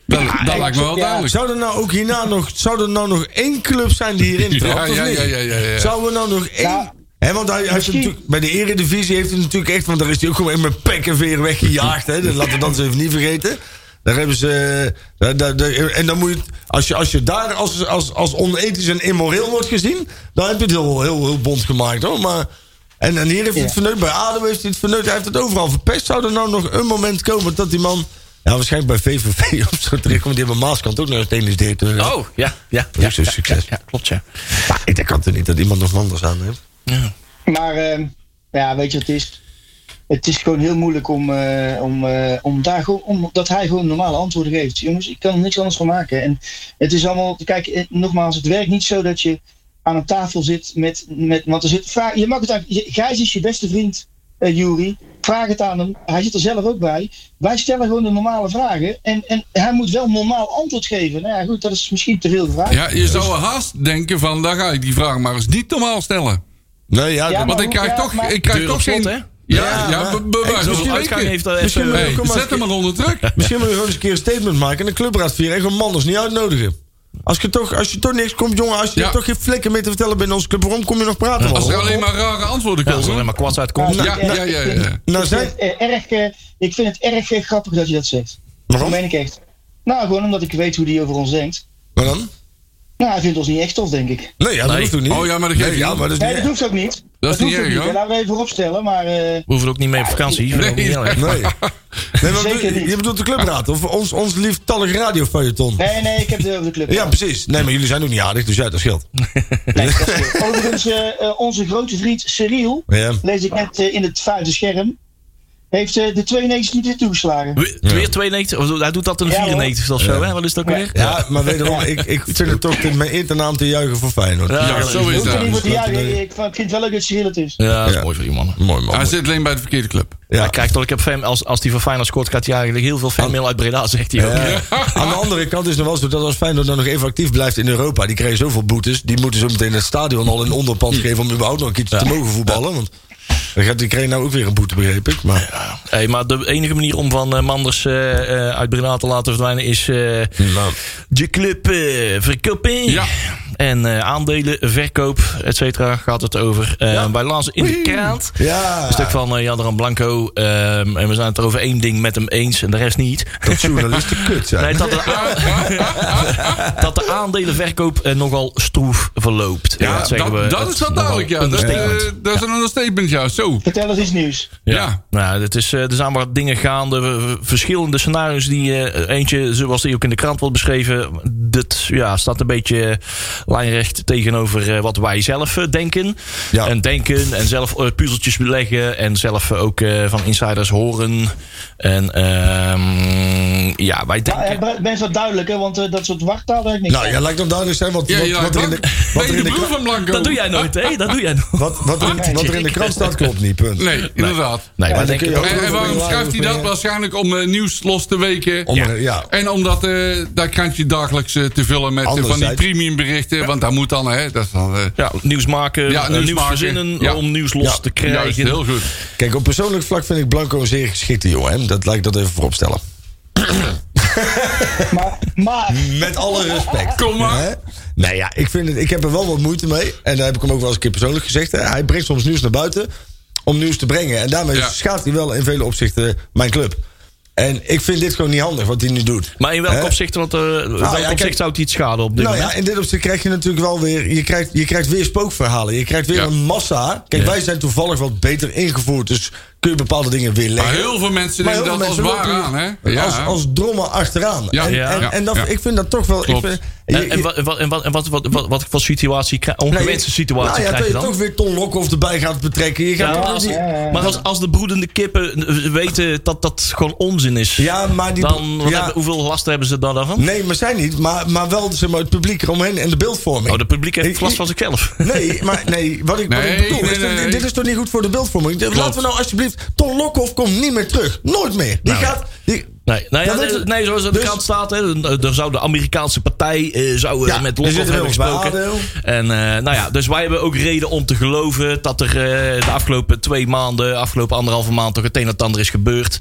Speaker 5: Dat, dat lijkt me wel
Speaker 6: ja.
Speaker 5: duidelijk.
Speaker 4: Zou er nou ook hierna nog, zou er nou nog één club zijn die
Speaker 5: *laughs*
Speaker 4: hierin
Speaker 5: Ja,
Speaker 4: trapt? of
Speaker 5: ja,
Speaker 4: niet?
Speaker 5: ja, ja, ja, ja.
Speaker 4: Zou er nou nog één...
Speaker 6: Ja.
Speaker 4: Hè, want hij, hij heeft
Speaker 6: Misschien.
Speaker 4: natuurlijk, bij de eredivisie heeft hij natuurlijk echt... Want daar is hij ook gewoon echt met pek en veer weggejaagd. Hè. Dat laten we dan eens even niet vergeten. Daar hebben ze... eh, daar- daar- daar- en dan moet je... Als je, als je daar als, als, als onethisch en immoreel wordt gezien... dan heb je het heel, heel, heel bond gemaakt, hoor. Maar... En, en hier heeft hij het
Speaker 6: Ja.
Speaker 4: verneukt. Bij ADO heeft hij het verneukt. Hij heeft het overal verpest. Zou er nou nog een moment komen dat die man... Ja, waarschijnlijk bij VVV *laughs* of zo terechtkomt. Die hebben Maaskant ook nog een technisch directeur. gehad.
Speaker 3: Oh, ja. ja,
Speaker 4: Dat is
Speaker 3: ja,
Speaker 4: ook zo'n
Speaker 3: ja,
Speaker 4: succes.
Speaker 3: ja, ja, klopt, ja.
Speaker 4: Maar ik denk altijd niet dat iemand nog anders aan heeft.
Speaker 6: Maar eh, ja, weet je wat het is? Het is gewoon heel moeilijk om, eh, om, eh, om daar gewoon, om, dat hij gewoon normale antwoorden geeft. Jongens, ik kan er niks anders van maken. En het is allemaal, kijk, eh, nogmaals, het werkt niet zo dat je aan een tafel zit met, met want er zit, vraag, je mag het aan, je- Gijs is je beste vriend, eh Jury. Vraag het aan hem, hij zit er zelf ook bij. Wij stellen gewoon de normale vragen en, en hij moet wel normaal antwoord geven. Nou ja, goed, dat is misschien te veel gevraagd.
Speaker 5: Ja, je zou haast denken van, daar ga ik die vraag maar eens niet normaal stellen.
Speaker 4: Nee,
Speaker 6: Ja,
Speaker 4: ja, dat-
Speaker 6: maar-
Speaker 5: Want ik krijg
Speaker 6: ja,
Speaker 5: toch,
Speaker 6: maar-
Speaker 5: ik krijg
Speaker 3: Deur op
Speaker 5: toch geen...
Speaker 3: slot, hè?
Speaker 5: Ja, ja,
Speaker 4: Ja,
Speaker 5: be-
Speaker 4: maar-
Speaker 5: be-
Speaker 4: Hey,
Speaker 5: bij
Speaker 3: Zoveel
Speaker 5: spreken.
Speaker 3: uitgang heeft eh, dat
Speaker 4: Misschien
Speaker 3: even...
Speaker 5: Hey,
Speaker 4: Kom maar.
Speaker 5: zet hem maar onder druk.
Speaker 4: misschien moet je gewoon eens een keer een statement maken en een clubraad vieren en gewoon Manders niet uitnodigen. Als je toch, als je toch niks komt, jongen, als je
Speaker 5: Ja.
Speaker 4: toch geen flikken meer te vertellen bent in onze club, waarom kom je nog praten? man?
Speaker 5: Als er alleen maar rare antwoorden
Speaker 3: Ja, Nou. als er
Speaker 5: komen.
Speaker 3: alleen maar kwads uitkomt.
Speaker 5: Ja, ja, ja, ja. ja.
Speaker 4: Nou,
Speaker 6: Ik vind
Speaker 4: zijn,
Speaker 6: het, eh, erg, eh, ik vind het erg eh, grappig dat je dat zegt.
Speaker 4: waarom?
Speaker 6: Dat meen ik echt. Nou, gewoon omdat ik weet hoe die over ons denkt.
Speaker 4: Maar dan?
Speaker 6: Nou, hij vindt ons niet echt tof, denk ik.
Speaker 4: Nee, ja, dat
Speaker 3: Nee.
Speaker 4: hoeft ook niet.
Speaker 5: Oh ja, maar dat geeft
Speaker 4: Nee,
Speaker 5: niet.
Speaker 4: ja, maar dat is
Speaker 6: Nee,
Speaker 4: niet
Speaker 6: dat hoeft ook niet. Dat,
Speaker 5: is niet
Speaker 6: hoeft ook
Speaker 5: erg, hoor.
Speaker 6: hè? Laten we even opstellen, maar... eh,
Speaker 3: We hoeven ook niet mee op vakantie.
Speaker 5: Nee,
Speaker 3: Nee,
Speaker 5: nee.
Speaker 4: Nee. nee maar
Speaker 6: Zeker
Speaker 4: bedoel-
Speaker 6: niet.
Speaker 4: Je bedoelt de clubraad of ons, ons lieftallig radiofeuilleton?
Speaker 6: nee, nee, ik heb het over de club.
Speaker 4: Ja, precies. Nee, maar jullie zijn ook niet aardig, dus ja, dat scheelt.
Speaker 6: *laughs* Nee, dat is goed. Overigens, eh, eh, onze grote vriend Cyril,
Speaker 4: Ja.
Speaker 6: lees ik net eh, in het vuile scherm, heeft eh, de 92 minuten toegeslagen.
Speaker 3: Weer 92. of Hij doet dat in de
Speaker 6: Ja, hoor.
Speaker 3: 94 of zo, hè? Wat is dat ook
Speaker 6: Ja.
Speaker 3: weer?
Speaker 4: Ja, maar wederom, ik, ik vind het toch in mijn eer ten naam te juichen voor Feyenoord.
Speaker 3: Ja,
Speaker 5: Ja, zo is
Speaker 6: Hoeft er
Speaker 5: dat.
Speaker 6: niemand te
Speaker 4: dat-
Speaker 6: juichen.
Speaker 4: nee.
Speaker 6: Ik vind het wel leuk dat Cyril het is.
Speaker 3: Ja, dat is
Speaker 4: Ja.
Speaker 3: mooi voor die mannen.
Speaker 4: Mooi man.
Speaker 5: Hij zit alleen bij de verkeerde club.
Speaker 4: Ja. Ah.
Speaker 3: Hij krijgt al, ik heb fan, als, als die van Feyenoord scoort, gaat hij eigenlijk heel veel fanmail uit Breda, zegt hij ook.
Speaker 4: Ja. Aan de andere kant is het nog wel zo dat als Feyenoord dan nog even actief blijft in Europa, die krijgen zoveel boetes, die moeten zo meteen het stadion al in onderpand geven om überhaupt nog een keertje te mogen voetballen. Want dan gaat- die kreeg nou ook weer een boete, begreep ik. Maar
Speaker 3: Hey, maar de enige manier om van eh, Manders eh, eh, uit Breda te laten verdwijnen is eh
Speaker 4: nou,
Speaker 3: de club eh, verkopen.
Speaker 5: Ja.
Speaker 3: En eh, aandelen, verkoop, et cetera, gaat het over. Eh, Bij Laas in de krant.
Speaker 4: ja,
Speaker 3: Een stuk van eh, Jadran Blanco. ehm, en we zijn het er over één ding met hem eens en de rest niet.
Speaker 4: dat journalisten kut zijn.
Speaker 3: Nee, dat, de aan- dat de aandelenverkoop eh, nogal stroef verloopt.
Speaker 5: Ja,
Speaker 3: dat zeggen we.
Speaker 5: dat, dat is wel
Speaker 3: nogal
Speaker 5: duidelijk, ja.
Speaker 3: een
Speaker 5: Dat, eh,
Speaker 3: statement.
Speaker 5: dat is een understatement, ja. Zo.
Speaker 6: Vertel eens iets nieuws.
Speaker 3: Ja.
Speaker 5: Ja.
Speaker 3: Nou, het is, eh, er zijn wat dingen gaande. We- we- Verschillende scenario's die eh, eentje, zoals die ook in de krant wordt beschreven, dat ja, staat een beetje eh, lijnrecht tegenover eh, wat wij zelf eh, denken.
Speaker 4: Ja.
Speaker 3: En denken en zelf eh, puzzeltjes beleggen en zelf eh, ook eh, van insiders horen. En ehm, ja, wij
Speaker 6: Ja,
Speaker 3: denken.
Speaker 6: ja, best wel duidelijk, hè, want eh, dat soort wartaal werkt niks.
Speaker 4: Nou ja, lijkt nog duidelijk zijn wat,
Speaker 5: Ja,
Speaker 4: wat,
Speaker 5: ja,
Speaker 4: wat er in
Speaker 5: bang.
Speaker 4: de,
Speaker 5: Ben
Speaker 4: er
Speaker 5: je
Speaker 4: in
Speaker 5: de
Speaker 4: de
Speaker 5: broer
Speaker 4: kra-
Speaker 5: van Blanco?
Speaker 3: Dat doe jij nooit, hè? Dat doe jij nooit.
Speaker 4: Wat, wat, er, in- wat er in de krant staat klopt niet, punt.
Speaker 5: Nee, inderdaad.
Speaker 3: Nee, maar
Speaker 4: dan
Speaker 3: denk
Speaker 4: kun
Speaker 3: ik
Speaker 4: je
Speaker 3: wel.
Speaker 4: ook-
Speaker 5: En, en waarom schrijft hij dat? Waarschijnlijk om eh, nieuws los te weken.
Speaker 4: Om er- ja.
Speaker 5: En omdat eh dat krantje dagelijks eh, te vullen met eh, van die
Speaker 4: Anderzijds.
Speaker 5: premium berichten. Want daar moet dan, hè, dat is dan... eh,
Speaker 3: Ja, nieuws maken,
Speaker 5: Ja,
Speaker 3: eh, nieuws,
Speaker 5: nieuws maken.
Speaker 3: verzinnen
Speaker 5: Ja.
Speaker 3: om nieuws los
Speaker 4: Ja,
Speaker 3: te
Speaker 5: juist,
Speaker 3: krijgen.
Speaker 5: heel goed.
Speaker 4: Kijk, op persoonlijk vlak vind ik Blanco een zeer geschikte jongen. Hè? Dat laat ik dat even vooropstellen.
Speaker 6: Maar, maar
Speaker 4: Met alle respect.
Speaker 5: Kom maar.
Speaker 4: Hè? Nou ja, ik, vind het, ik heb er wel wat moeite mee. En daar heb ik hem ook wel eens een keer persoonlijk gezegd. hè. Hij brengt soms nieuws naar buiten om nieuws te brengen. En daarmee
Speaker 5: Ja.
Speaker 4: schaadt hij wel in vele opzichten mijn club. En ik vind dit gewoon niet handig wat hij nu doet.
Speaker 3: Maar in welk
Speaker 4: Hè? Nou
Speaker 3: opzicht, want, eh, welk
Speaker 4: kijk-
Speaker 3: opzicht zou het iets schaden op dit
Speaker 4: Nou
Speaker 3: moment?
Speaker 4: ja, in dit opzicht krijg je natuurlijk wel weer... Je krijgt, je krijgt weer spookverhalen. Je krijgt weer
Speaker 5: Ja.
Speaker 4: een massa. Kijk, wij zijn toevallig wat beter ingevoerd. Dus kun je bepaalde dingen weer leggen.
Speaker 5: Maar heel veel mensen
Speaker 4: Maar
Speaker 5: nemen
Speaker 4: heel
Speaker 5: dat als
Speaker 4: veel
Speaker 5: waar
Speaker 4: mensen
Speaker 5: aan,
Speaker 4: lopen
Speaker 5: hè? Ja.
Speaker 4: Als, als drommen achteraan.
Speaker 5: Ja.
Speaker 4: En,
Speaker 3: Ja.
Speaker 4: en, en dat,
Speaker 5: Ja.
Speaker 4: ik vind dat toch wel... Ik
Speaker 5: Klopt.
Speaker 4: vind, je-
Speaker 3: En, en, wat, en, wat, en wat, en wat, wat, wat, wat voor situatie, krijg- ongewenste situatie
Speaker 4: nou, ja,
Speaker 3: krijg je dan?
Speaker 4: dat je toch weer Ton Lokhoff erbij gaat betrekken. Je gaat
Speaker 3: Ja,
Speaker 4: toch
Speaker 3: maar
Speaker 4: weer
Speaker 3: als,
Speaker 4: die-
Speaker 3: maar als, als de broedende kippen eh, weten dat dat gewoon onzin is,
Speaker 4: Ja, maar die-
Speaker 3: dan wat
Speaker 4: ja.
Speaker 3: hebben- hoeveel last hebben ze dan daarvan?
Speaker 4: Nee, maar zij niet. Maar, maar wel zeg maar, het publiek eromheen en de beeldvorming.
Speaker 3: Oh, de publiek
Speaker 4: Ik-
Speaker 3: heeft last van zichzelf.
Speaker 4: Nee, maar nee, wat ik, wat
Speaker 5: Nee,
Speaker 4: ik bedoel
Speaker 5: nee,
Speaker 4: is, dat-
Speaker 5: nee.
Speaker 4: dit is toch niet goed voor de beeldvorming? Laten we nou alsjeblieft, Ton Lokhoff komt niet meer terug. Nooit meer. Die
Speaker 3: Nou,
Speaker 4: gaat... Die,
Speaker 3: Nee, nou ja,
Speaker 4: Dat
Speaker 3: nee,
Speaker 4: is het.
Speaker 3: nee, zoals aan de
Speaker 4: Dus-
Speaker 3: krant staat, hè, dan- dan zou de Amerikaanse partij eh, zou, eh,
Speaker 4: Ja,
Speaker 3: met
Speaker 4: er
Speaker 3: Lokhoff
Speaker 4: zitten
Speaker 3: hebben
Speaker 4: heel veel
Speaker 3: gesproken. En, eh, nou ja, dus wij hebben ook reden om te geloven dat er eh, de afgelopen twee maanden, afgelopen anderhalve maand, toch het een en het ander is gebeurd.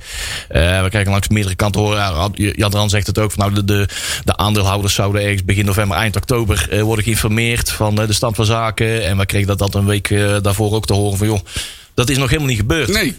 Speaker 3: Eh, we krijgen langs meerdere kanten horen. Ja, Jan Ran zegt het ook. Van, nou, de, de, de aandeelhouders zouden ergens begin november, eind oktober eh, worden geïnformeerd van eh, de stand van zaken. En we kregen dat, dat een week eh, daarvoor ook te horen van, joh, dat is nog helemaal niet gebeurd.
Speaker 5: Nee.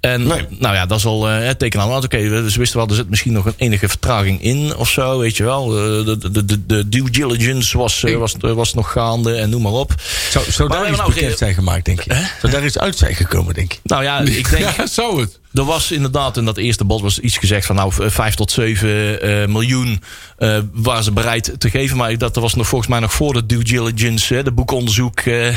Speaker 3: En nou ja, dat is al eh, het teken aan de hand. Oké, we- ze wisten wel, er zit misschien nog een enige vertraging in of zo, weet je wel. Eh, De, de, de, de due diligence was, eh, was, eh, was nog gaande en noem maar op.
Speaker 4: Zo, zo
Speaker 3: Maar we
Speaker 4: daar
Speaker 3: hebben
Speaker 4: iets
Speaker 3: nou
Speaker 4: bekend
Speaker 3: geen-
Speaker 4: zijn gemaakt, denk ik. Zo daar iets uit zijn gekomen, denk ik.
Speaker 3: Nou ja, ik denk,
Speaker 5: *laughs* Ja, zou het.
Speaker 3: er was inderdaad in dat eerste bod was iets gezegd van nou 5 tot 7 eh, miljoen eh, waren ze bereid te geven. Maar dat was nog volgens mij nog voor de due diligence, hè, de boekonderzoek, eh,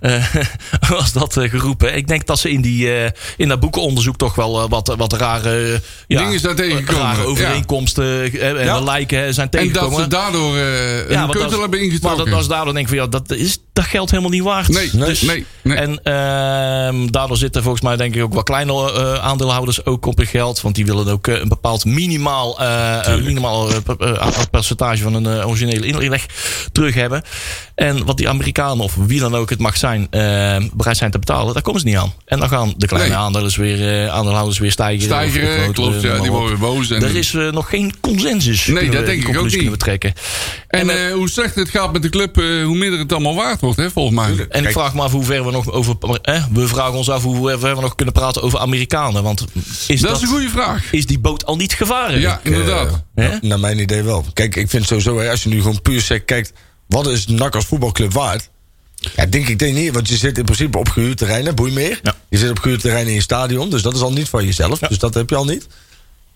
Speaker 3: eh, *laughs* was dat eh, geroepen. Ik denk dat ze in, die, eh, in dat boekonderzoek toch wel eh, wat, wat rare, eh, ja,
Speaker 5: Dingen zijn tegengekomen,
Speaker 3: rare
Speaker 5: ja.
Speaker 3: overeenkomsten eh, en
Speaker 5: Ja.
Speaker 3: de lijken eh, zijn
Speaker 5: En dat
Speaker 3: tegengekomen.
Speaker 5: ze daardoor eh een
Speaker 3: want
Speaker 5: keutel
Speaker 3: als-
Speaker 5: hebben
Speaker 3: Maar
Speaker 5: ingetrokken.
Speaker 3: dat was daardoor denk ik van ja, dat, is, dat geld helemaal niet waard.
Speaker 5: Nee, nee,
Speaker 3: Dus-
Speaker 5: nee, nee.
Speaker 3: En ehm, daardoor zitten volgens mij denk ik ook wat kleine eh, aandeelhouders ook op hun geld. Want die willen ook eh, een bepaald minimaal, eh, eh, minimaal eh, per- eh, aantal percentage van hun eh, originele inleg terug hebben. En wat die Amerikanen of wie dan ook het mag zijn, eh, bereid zijn te betalen, daar komen ze niet aan. En dan gaan de kleine
Speaker 5: Nee.
Speaker 3: aandeelers weer, eh, aandeelhouders weer stijgen. Of de
Speaker 5: Stijgeren,
Speaker 3: grote,
Speaker 5: klopt,
Speaker 3: noem
Speaker 5: ja,
Speaker 3: maar
Speaker 5: die
Speaker 3: op.
Speaker 5: worden boos. En,
Speaker 3: Er is eh, nog geen consensus.
Speaker 5: Nee,
Speaker 3: kunnen
Speaker 5: dat
Speaker 3: we-
Speaker 5: denk
Speaker 3: die
Speaker 5: ik ook
Speaker 3: conclusie
Speaker 5: niet.
Speaker 3: kunnen we trekken.
Speaker 5: en
Speaker 3: eh,
Speaker 5: eh, hoe slechter het gaat met de club, eh, hoe minder het allemaal waard wordt, hè, volgens mij.
Speaker 3: En ik vraag me af hoe ver we nog over. Eh, we vragen ons af hoe ver we nog kunnen praten over Amerikanen. Want is,
Speaker 5: Dat
Speaker 3: dat
Speaker 5: is een goede vraag.
Speaker 3: is die boot al niet gevaren?
Speaker 5: Ja, inderdaad.
Speaker 3: Hè?
Speaker 4: eh, Naar mijn idee wel. Kijk, ik vind sowieso, hè, als je nu gewoon puur zegt, kijkt, wat is NAC als voetbalclub waard? Ja, denk ik denk niet, want je zit in principe op gehuurd terrein, hè, boei meer.
Speaker 3: Ja.
Speaker 4: Je zit op gehuurd terrein in je stadion, dus dat is al niet van jezelf. Dus dat heb je al niet.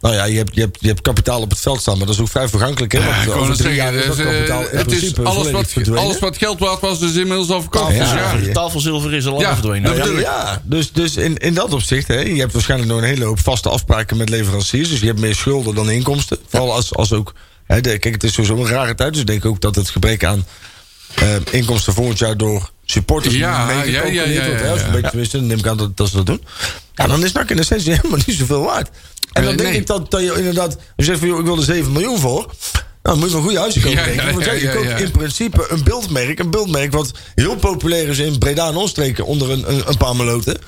Speaker 4: Nou ja, je hebt, je, hebt, je hebt kapitaal op het veld staan, maar dat is ook vrij vergankelijk. Hè, want
Speaker 5: Ja, ik wou
Speaker 4: over
Speaker 5: net
Speaker 4: drie jaar
Speaker 5: zeggen,
Speaker 4: is
Speaker 5: dus,
Speaker 4: dat
Speaker 5: eh,
Speaker 4: kapitaal in
Speaker 5: het is
Speaker 4: principe
Speaker 5: alles
Speaker 4: volledig
Speaker 5: wat,
Speaker 4: verdwenen.
Speaker 5: alles wat geld waard was, is inmiddels al verkocht.
Speaker 4: Ah,
Speaker 5: Dus
Speaker 4: ja.
Speaker 5: ja.
Speaker 3: De tafelzilver is al lang
Speaker 5: Ja,
Speaker 3: verdwenen.
Speaker 5: dat
Speaker 3: Ja.
Speaker 5: bedoel ik.
Speaker 4: Ja, dus, dus in, in dat opzicht, hè, je hebt waarschijnlijk nog een hele hoop vaste afspraken met leveranciers. Dus je hebt meer schulden dan inkomsten. Vooral als, als ook, hè, de- kijk, het is sowieso een rare tijd. Dus ik denk ook dat het gebrek aan eh, inkomsten volgend jaar door supporters
Speaker 5: Ja,
Speaker 4: meegecalculeerd
Speaker 5: ja, ja, ja, ja,
Speaker 4: wordt. hè. Of
Speaker 5: ja,
Speaker 4: een
Speaker 5: ja.
Speaker 4: beetje, tenminste, dan neem ik aan dat, dat ze dat doen. Ja, dan is NAC in essentie *laughs* helemaal niet zoveel waard. En dan
Speaker 5: Eh,
Speaker 4: denk
Speaker 5: nee.
Speaker 4: ik dat, dat je inderdaad, als je zegt van joh, ik wil er 7 miljoen voor. Nou, dan moet je wel goede huizen kopen.
Speaker 5: Ja,
Speaker 4: denk ik.
Speaker 5: ja,
Speaker 4: Want ja,
Speaker 5: ja,
Speaker 4: je
Speaker 5: ja,
Speaker 4: koopt
Speaker 5: ja.
Speaker 4: in principe een beeldmerk. Een beeldmerk wat heel populair is in Breda en omstreken onder een, een, een paar meloten.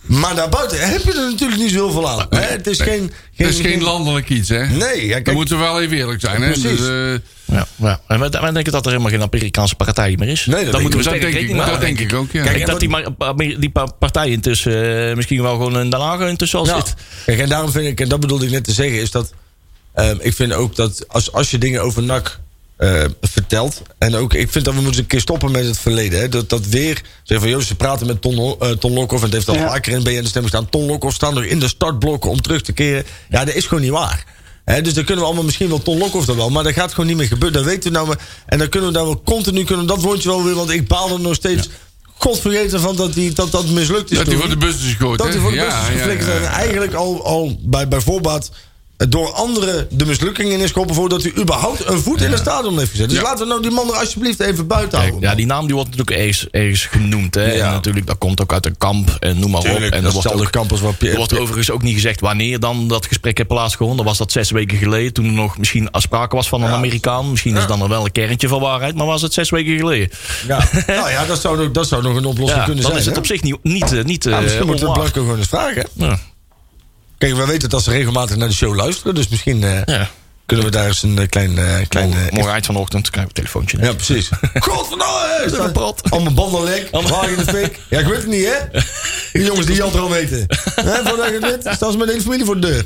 Speaker 4: Maar daarbuiten heb je er natuurlijk niet zo heel veel aan. hè? Het is
Speaker 5: nee.
Speaker 4: geen...
Speaker 5: Het is geen landelijk iets, hè?
Speaker 4: Nee, ja,
Speaker 5: Dan
Speaker 4: kijk-
Speaker 5: moeten we wel even eerlijk zijn, hè?
Speaker 4: Precies.
Speaker 5: Dus, eh,
Speaker 3: Ja, ja. En wij, wij denken dat er helemaal geen Amerikaanse partij meer is.
Speaker 4: Nee, dat
Speaker 3: Dan
Speaker 4: denk
Speaker 3: moeten we
Speaker 5: dat
Speaker 3: sterk
Speaker 5: denk ik,
Speaker 3: rekening mee
Speaker 5: dat
Speaker 3: houden.
Speaker 5: denk ik ook, ja.
Speaker 3: Ik denk dat die, ma- Amer- die pa- partij intussen eh, misschien wel gewoon een Den Haag intussen al
Speaker 4: Ja.
Speaker 3: zit.
Speaker 4: Kijk, en daarom vind ik, en dat bedoelde ik net te zeggen, is dat ehm, ik vind ook dat als, als je dingen over NAC eh, vertelt. En ook, ik vind dat we moeten een keer stoppen met het verleden. Hè? Dat, dat weer, zeg van, joh, ze praten met Ton, Ho- eh, Ton Lokhoff. En het heeft al
Speaker 6: Ja.
Speaker 4: vaker in BN de stemming staan. Ton Lokhoff staan nog in de startblokken om terug te keren. Ja, dat is gewoon niet waar. Hè, dus dan kunnen we allemaal misschien wel Ton Lokhoff dan wel. Maar dat gaat gewoon niet meer gebeuren. Dat weten we nou. maar- En dan kunnen we daar wel continu kunnen we dat wondje wel weer. Want ik baal er nog steeds. Godvergeten van dat, die, dat dat mislukt is.
Speaker 5: dat hij
Speaker 4: toen.
Speaker 5: voor de bus is gegooid,
Speaker 4: Dat
Speaker 5: hè?
Speaker 4: hij voor de
Speaker 5: Ja,
Speaker 4: bus is
Speaker 5: ja,
Speaker 4: geflikkerd.
Speaker 5: ja.
Speaker 4: En eigenlijk al, al bij, bij voorbaat door anderen de mislukking in is geholpen... voordat hij überhaupt een voet in het stadion heeft gezet. Dus
Speaker 5: Ja.
Speaker 4: laten we nou die man er alsjeblieft even buiten houden.
Speaker 3: Ja, die naam die wordt natuurlijk eens, eens genoemd. Hè.
Speaker 4: Ja.
Speaker 3: En natuurlijk, dat komt ook uit een kamp en noem maar op.
Speaker 4: Tuurlijk,
Speaker 3: En
Speaker 4: dat
Speaker 3: wordt
Speaker 4: hetzelfde
Speaker 3: ook-
Speaker 4: kamp als wat Pierre-
Speaker 3: Er wordt overigens ook niet gezegd wanneer dan dat gesprek heeft plaatsgevonden. Was dat zes weken geleden, toen er nog misschien sprake was van een Amerikaan. Misschien is dan nog wel een kerntje van waarheid, maar was het zes weken geleden? *laughs*
Speaker 4: Ja. nou ja, dat zou, nog- dat zou nog een oplossing
Speaker 3: Ja, dan
Speaker 4: kunnen zijn.
Speaker 3: is het
Speaker 4: hè?
Speaker 3: op zich niet, niet, eh, niet
Speaker 4: Ja,
Speaker 3: eh,
Speaker 4: misschien moeten we
Speaker 3: onwaar.
Speaker 4: Blanco gewoon eens vragen. hè?
Speaker 3: Ja.
Speaker 4: Kijk, wij weten dat ze regelmatig naar de show luisteren. Dus misschien eh,
Speaker 3: Ja.
Speaker 4: kunnen we daar eens een eh, klein... eh, klein eh,
Speaker 3: Morgen morgen eind vanochtend krijgen we een telefoontje.
Speaker 4: ja, precies. Godverdomme!
Speaker 3: Even
Speaker 4: staat-
Speaker 3: prat.
Speaker 4: Allemaal banden lek,
Speaker 3: Allemaal-
Speaker 4: vaag in de fik. Ja, ik weet het niet, hè? Die jongens die Jan er al weten. Hè, voordat je het weet, staan ze met één familie voor de deur.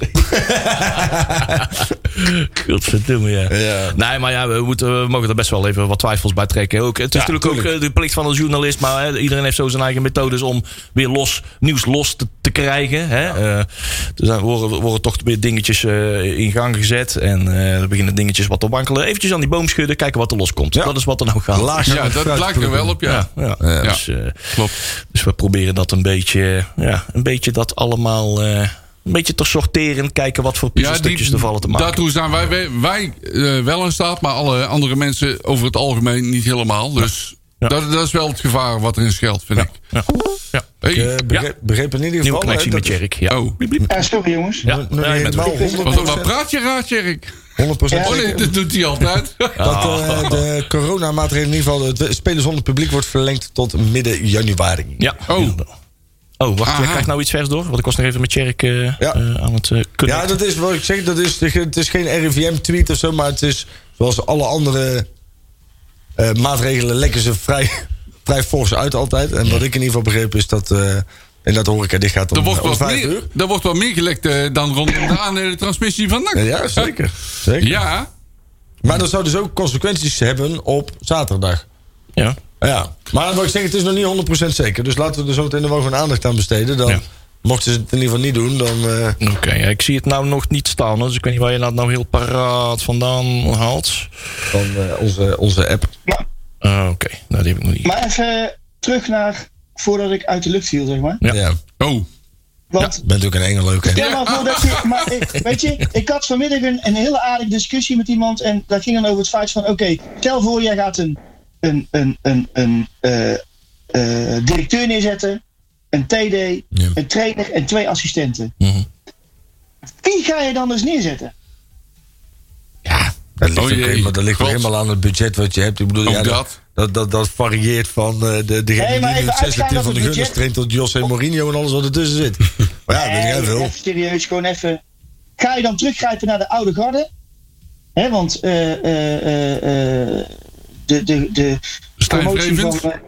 Speaker 3: Godverdomme, ja.
Speaker 4: Ja.
Speaker 3: Nee, maar ja, we, moeten, we mogen er best wel even wat twijfels bij trekken. Ook, het is natuurlijk ook eh, de plicht van een journalist. Maar hè, iedereen heeft zo zijn eigen methodes om weer los, nieuws los te, te krijgen. Hè? Eh, er zijn, worden, worden toch weer dingetjes eh, in gang gezet. En eh, er beginnen dingetjes wat te wankelen. Eventjes aan die boom schudden, kijken wat er loskomt.
Speaker 4: Ja.
Speaker 3: Dat is wat er nou gaat.
Speaker 4: Laag
Speaker 5: Ja, dat lijkt er wel op, ja.
Speaker 3: Ja,
Speaker 4: Ja.
Speaker 3: Dus, eh,
Speaker 5: Klopt.
Speaker 3: dus we proberen dat een beetje, ja, een beetje dat allemaal... eh, een beetje te sorteren, kijken wat voor puzzelstukjes er vallen te maken.
Speaker 5: Daartoe zijn wij, wij, wij, eh, wel in staat, maar alle andere mensen over het algemeen niet helemaal. Dus
Speaker 3: Ja.
Speaker 5: Dat, dat is wel het gevaar wat erin schuilt, vind ik.
Speaker 3: Ja. Ja.
Speaker 5: Hey.
Speaker 4: Eh, begreep, begreep in ieder
Speaker 3: Nieuwe
Speaker 4: geval...
Speaker 3: connectie
Speaker 4: hè,
Speaker 3: met
Speaker 4: dat-
Speaker 3: Jerk. Ja.
Speaker 5: Oh.
Speaker 3: Bliep, bliep.
Speaker 6: Ja, eh, sorry jongens.
Speaker 3: Ja,
Speaker 4: nog
Speaker 3: ja,
Speaker 4: niet
Speaker 3: je bent
Speaker 4: helemaal
Speaker 3: goed.
Speaker 4: 100%,
Speaker 5: Wat, wat praat je raad, Jerk?
Speaker 4: 100%
Speaker 5: Oh nee,
Speaker 4: zeker
Speaker 5: dat doet hij
Speaker 4: *laughs*
Speaker 5: altijd.
Speaker 4: dat eh, de coronamaatregelen in ieder geval... het spelen zonder publiek wordt verlengd tot midden januari.
Speaker 3: Ja.
Speaker 5: Oh.
Speaker 3: Oh, wacht,
Speaker 5: Aha.
Speaker 3: jij krijgt nou iets vers door? Want ik was nog even met Jerk eh, eh, aan het eh
Speaker 4: Ja,
Speaker 3: connecten.
Speaker 4: dat is wat ik zeg. Dat is, het is geen RIVM-tweet of zo, maar het is zoals alle andere eh, maatregelen lekken ze vrij, *laughs* vrij fors uit altijd. En wat ik in ieder geval begreep is dat, eh, en dat hoor ik, dit gaat om, eh,
Speaker 5: Er wordt,
Speaker 4: om
Speaker 5: wat
Speaker 4: vijf
Speaker 5: meer,
Speaker 4: uur.
Speaker 5: er wordt wat meer gelekt eh, dan rondom de aandelentransmissie van NAC.
Speaker 4: Eh, Ja, zeker.
Speaker 5: *laughs*
Speaker 4: zeker.
Speaker 5: Ja,
Speaker 4: Maar dat zou dus ook consequenties hebben op zaterdag.
Speaker 3: Ja.
Speaker 4: Ja, maar wat ik zeg, het is nog niet 100% zeker. Dus laten we er zo meteen nog wel gewoon aandacht aan besteden. Dan,
Speaker 3: Ja.
Speaker 4: Mochten ze het in ieder geval niet doen, dan... eh,
Speaker 3: Oké, ja, ik zie het nou nog niet staan. hoor. Dus ik weet niet waar je dat nou heel paraat vandaan haalt.
Speaker 4: van eh, onze, onze app.
Speaker 6: Ja.
Speaker 3: Ah, Oké, nou die heb ik nog niet.
Speaker 6: Maar even eh, terug naar voordat ik uit de lucht viel, zeg maar.
Speaker 3: Ja.
Speaker 4: Ja. Je
Speaker 5: oh.
Speaker 6: Want
Speaker 4: bent ook een engel leuk, hè?
Speaker 6: stel nou voor dat je. Maar ik, weet je, ik had vanmiddag een, een hele aardige discussie met iemand. En dat ging dan over het feit van: oké, stel voor jij gaat een, een, een, een, een eh, eh, directeur neerzetten, een TD,
Speaker 4: Ja.
Speaker 6: een trainer en twee assistenten.
Speaker 3: Mhm.
Speaker 6: Wie ga je dan dus neerzetten?
Speaker 4: Dat ligt,
Speaker 5: Oh
Speaker 4: ook,
Speaker 5: jee,
Speaker 4: helemaal- dat ligt ook
Speaker 5: God.
Speaker 4: helemaal aan het budget wat je hebt. Ik bedoel,
Speaker 5: Ook
Speaker 4: ja, dat,
Speaker 5: dat.
Speaker 4: dat, dat, dat varieert van eh, de, degene
Speaker 6: Nee, maar
Speaker 4: die
Speaker 6: even
Speaker 4: nu het zesde
Speaker 6: uitgaan
Speaker 4: team
Speaker 6: dat
Speaker 4: van de
Speaker 6: het
Speaker 4: Gunners
Speaker 6: budget-
Speaker 4: traint tot José Mourinho en alles wat ertussen zit. Maar ja, weet jij
Speaker 6: Nee,
Speaker 4: veel.
Speaker 6: even serieus, gewoon even. Ga je dan teruggrijpen naar de oude garde? Hè, want eh, eh, eh, eh, de, de, de
Speaker 5: Stijn
Speaker 6: promotie van...
Speaker 5: Vrevens?
Speaker 6: eh,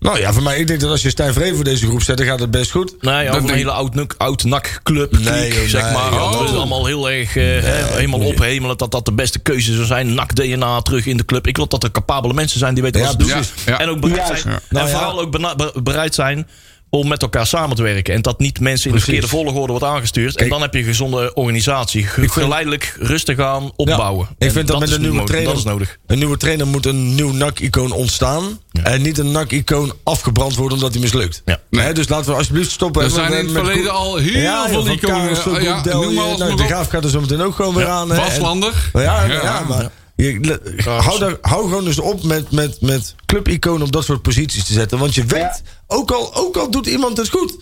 Speaker 4: Nou ja, voor mij, ik denk dat als je Stijn Vreven voor deze groep zet, dan gaat het best goed.
Speaker 3: Nee, over
Speaker 5: Dat
Speaker 3: een
Speaker 5: denk-
Speaker 3: hele oud, nuk- oud NAC-club,
Speaker 4: Nee, joh,
Speaker 3: zeg
Speaker 4: nee,
Speaker 3: maar.
Speaker 4: joh.
Speaker 3: Dat is allemaal heel erg eh, hè, helemaal ophemelen dat dat de beste keuze zou zijn. NAC-DNA terug in de club. Ik wil dat er capabele mensen zijn die weten
Speaker 4: Ja,
Speaker 3: wat ze doen.
Speaker 5: precies. Ja, ja.
Speaker 3: En ook bereid
Speaker 6: Juist.
Speaker 3: zijn,
Speaker 5: Ja.
Speaker 4: Nou
Speaker 3: en
Speaker 4: ja.
Speaker 3: vooral ook bena- be- bereid zijn om met elkaar samen te werken. En dat niet mensen in de
Speaker 4: Precies.
Speaker 3: verkeerde volgorde wordt aangestuurd. en
Speaker 4: Kijk.
Speaker 3: dan heb je een gezonde organisatie. Ge- geleidelijk rustig aan opbouwen.
Speaker 4: Ik
Speaker 3: En
Speaker 4: vind dat, met
Speaker 3: is
Speaker 4: een nieuwe
Speaker 3: nodig.
Speaker 4: trainer.
Speaker 3: Dat is nodig.
Speaker 4: Een nieuwe trainer moet een nieuw NAC-icoon ontstaan. En niet een NAC-icoon afgebrand worden omdat hij mislukt.
Speaker 3: Ja.
Speaker 4: Nee, dus laten we alsjeblieft stoppen.
Speaker 5: Er
Speaker 4: En
Speaker 5: zijn
Speaker 4: met-
Speaker 5: in het
Speaker 4: met-
Speaker 5: verleden al heel
Speaker 4: ja,
Speaker 5: veel
Speaker 4: van
Speaker 5: iconen. eh,
Speaker 4: Karel,
Speaker 5: ja,
Speaker 4: Del-
Speaker 5: noem maar alles
Speaker 4: nou,
Speaker 5: nog
Speaker 4: de
Speaker 5: op.
Speaker 4: Graaf gaat er zo meteen ook gewoon weer aan. hè. En-
Speaker 5: Waslander.
Speaker 4: Ja, ja, maar. Je, le- hou, daar, hou gewoon dus op met, met, met clubiconen op dat soort posities te zetten. Want je weet, ook, al, ook al doet iemand het goed,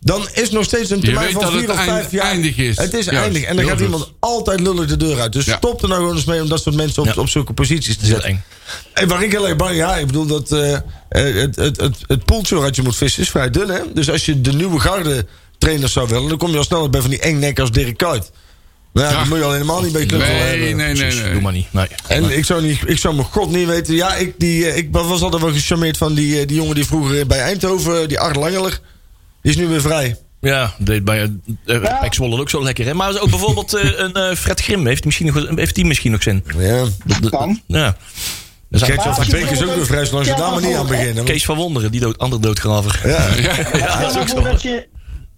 Speaker 4: dan is nog steeds een termijn
Speaker 5: weet
Speaker 4: van
Speaker 5: dat
Speaker 4: vier
Speaker 5: het
Speaker 4: of
Speaker 5: eind-
Speaker 4: vijf jaar.
Speaker 5: eindig is.
Speaker 4: Het is
Speaker 5: Juist,
Speaker 4: eindig. En dan
Speaker 5: heel
Speaker 4: gaat
Speaker 5: goed.
Speaker 4: iemand altijd lullig de deur uit. Dus
Speaker 5: Ja.
Speaker 4: stop er nou gewoon eens mee om dat soort mensen op,
Speaker 3: Ja.
Speaker 4: op zulke posities te
Speaker 3: Dat is
Speaker 4: zetten.
Speaker 3: eng.
Speaker 4: En waar ik heel erg bang, ja, ik bedoel dat eh, eh, het, het, het, het poeltje waaruit je moet vissen is vrij dun, hè? Dus als je de nieuwe garde trainers zou willen, dan kom je al snel bij van die engnek als Dirk Kuyt. Nou, ja,
Speaker 5: Ja.
Speaker 4: die moet je al helemaal niet bij je club willen
Speaker 5: Nee, nee,
Speaker 4: hebben.
Speaker 5: nee,
Speaker 3: Precies,
Speaker 5: nee.
Speaker 3: Doe maar niet. Nee.
Speaker 4: En ik zou, niet, ik zou mijn god niet weten. Ja, ik, die, eh, ik was altijd wel gecharmeerd van die, eh, die jongen die vroeger bij Eindhoven, eh, die Art Langeler, die is nu weer vrij.
Speaker 3: Ja, deed bij eh, eh,
Speaker 6: Ja.
Speaker 3: Pek Zwolle ook zo lekker. Hè? Maar ook bijvoorbeeld eh, een eh, Fred Grim. Heeft, misschien nog, heeft die misschien nog zin?
Speaker 4: Ja.
Speaker 6: eh, Kan.
Speaker 3: Ja. Er zijn-
Speaker 4: Gert-Jan van Beek is ook weer vrij, zolang ze daar maar niet aan beginnen.
Speaker 3: Kees van Wonderen, die dood, andere doodgraver.
Speaker 4: Ja.
Speaker 3: Ja, dat is
Speaker 6: Stel
Speaker 3: ook
Speaker 6: voor
Speaker 3: zo.
Speaker 6: dat je,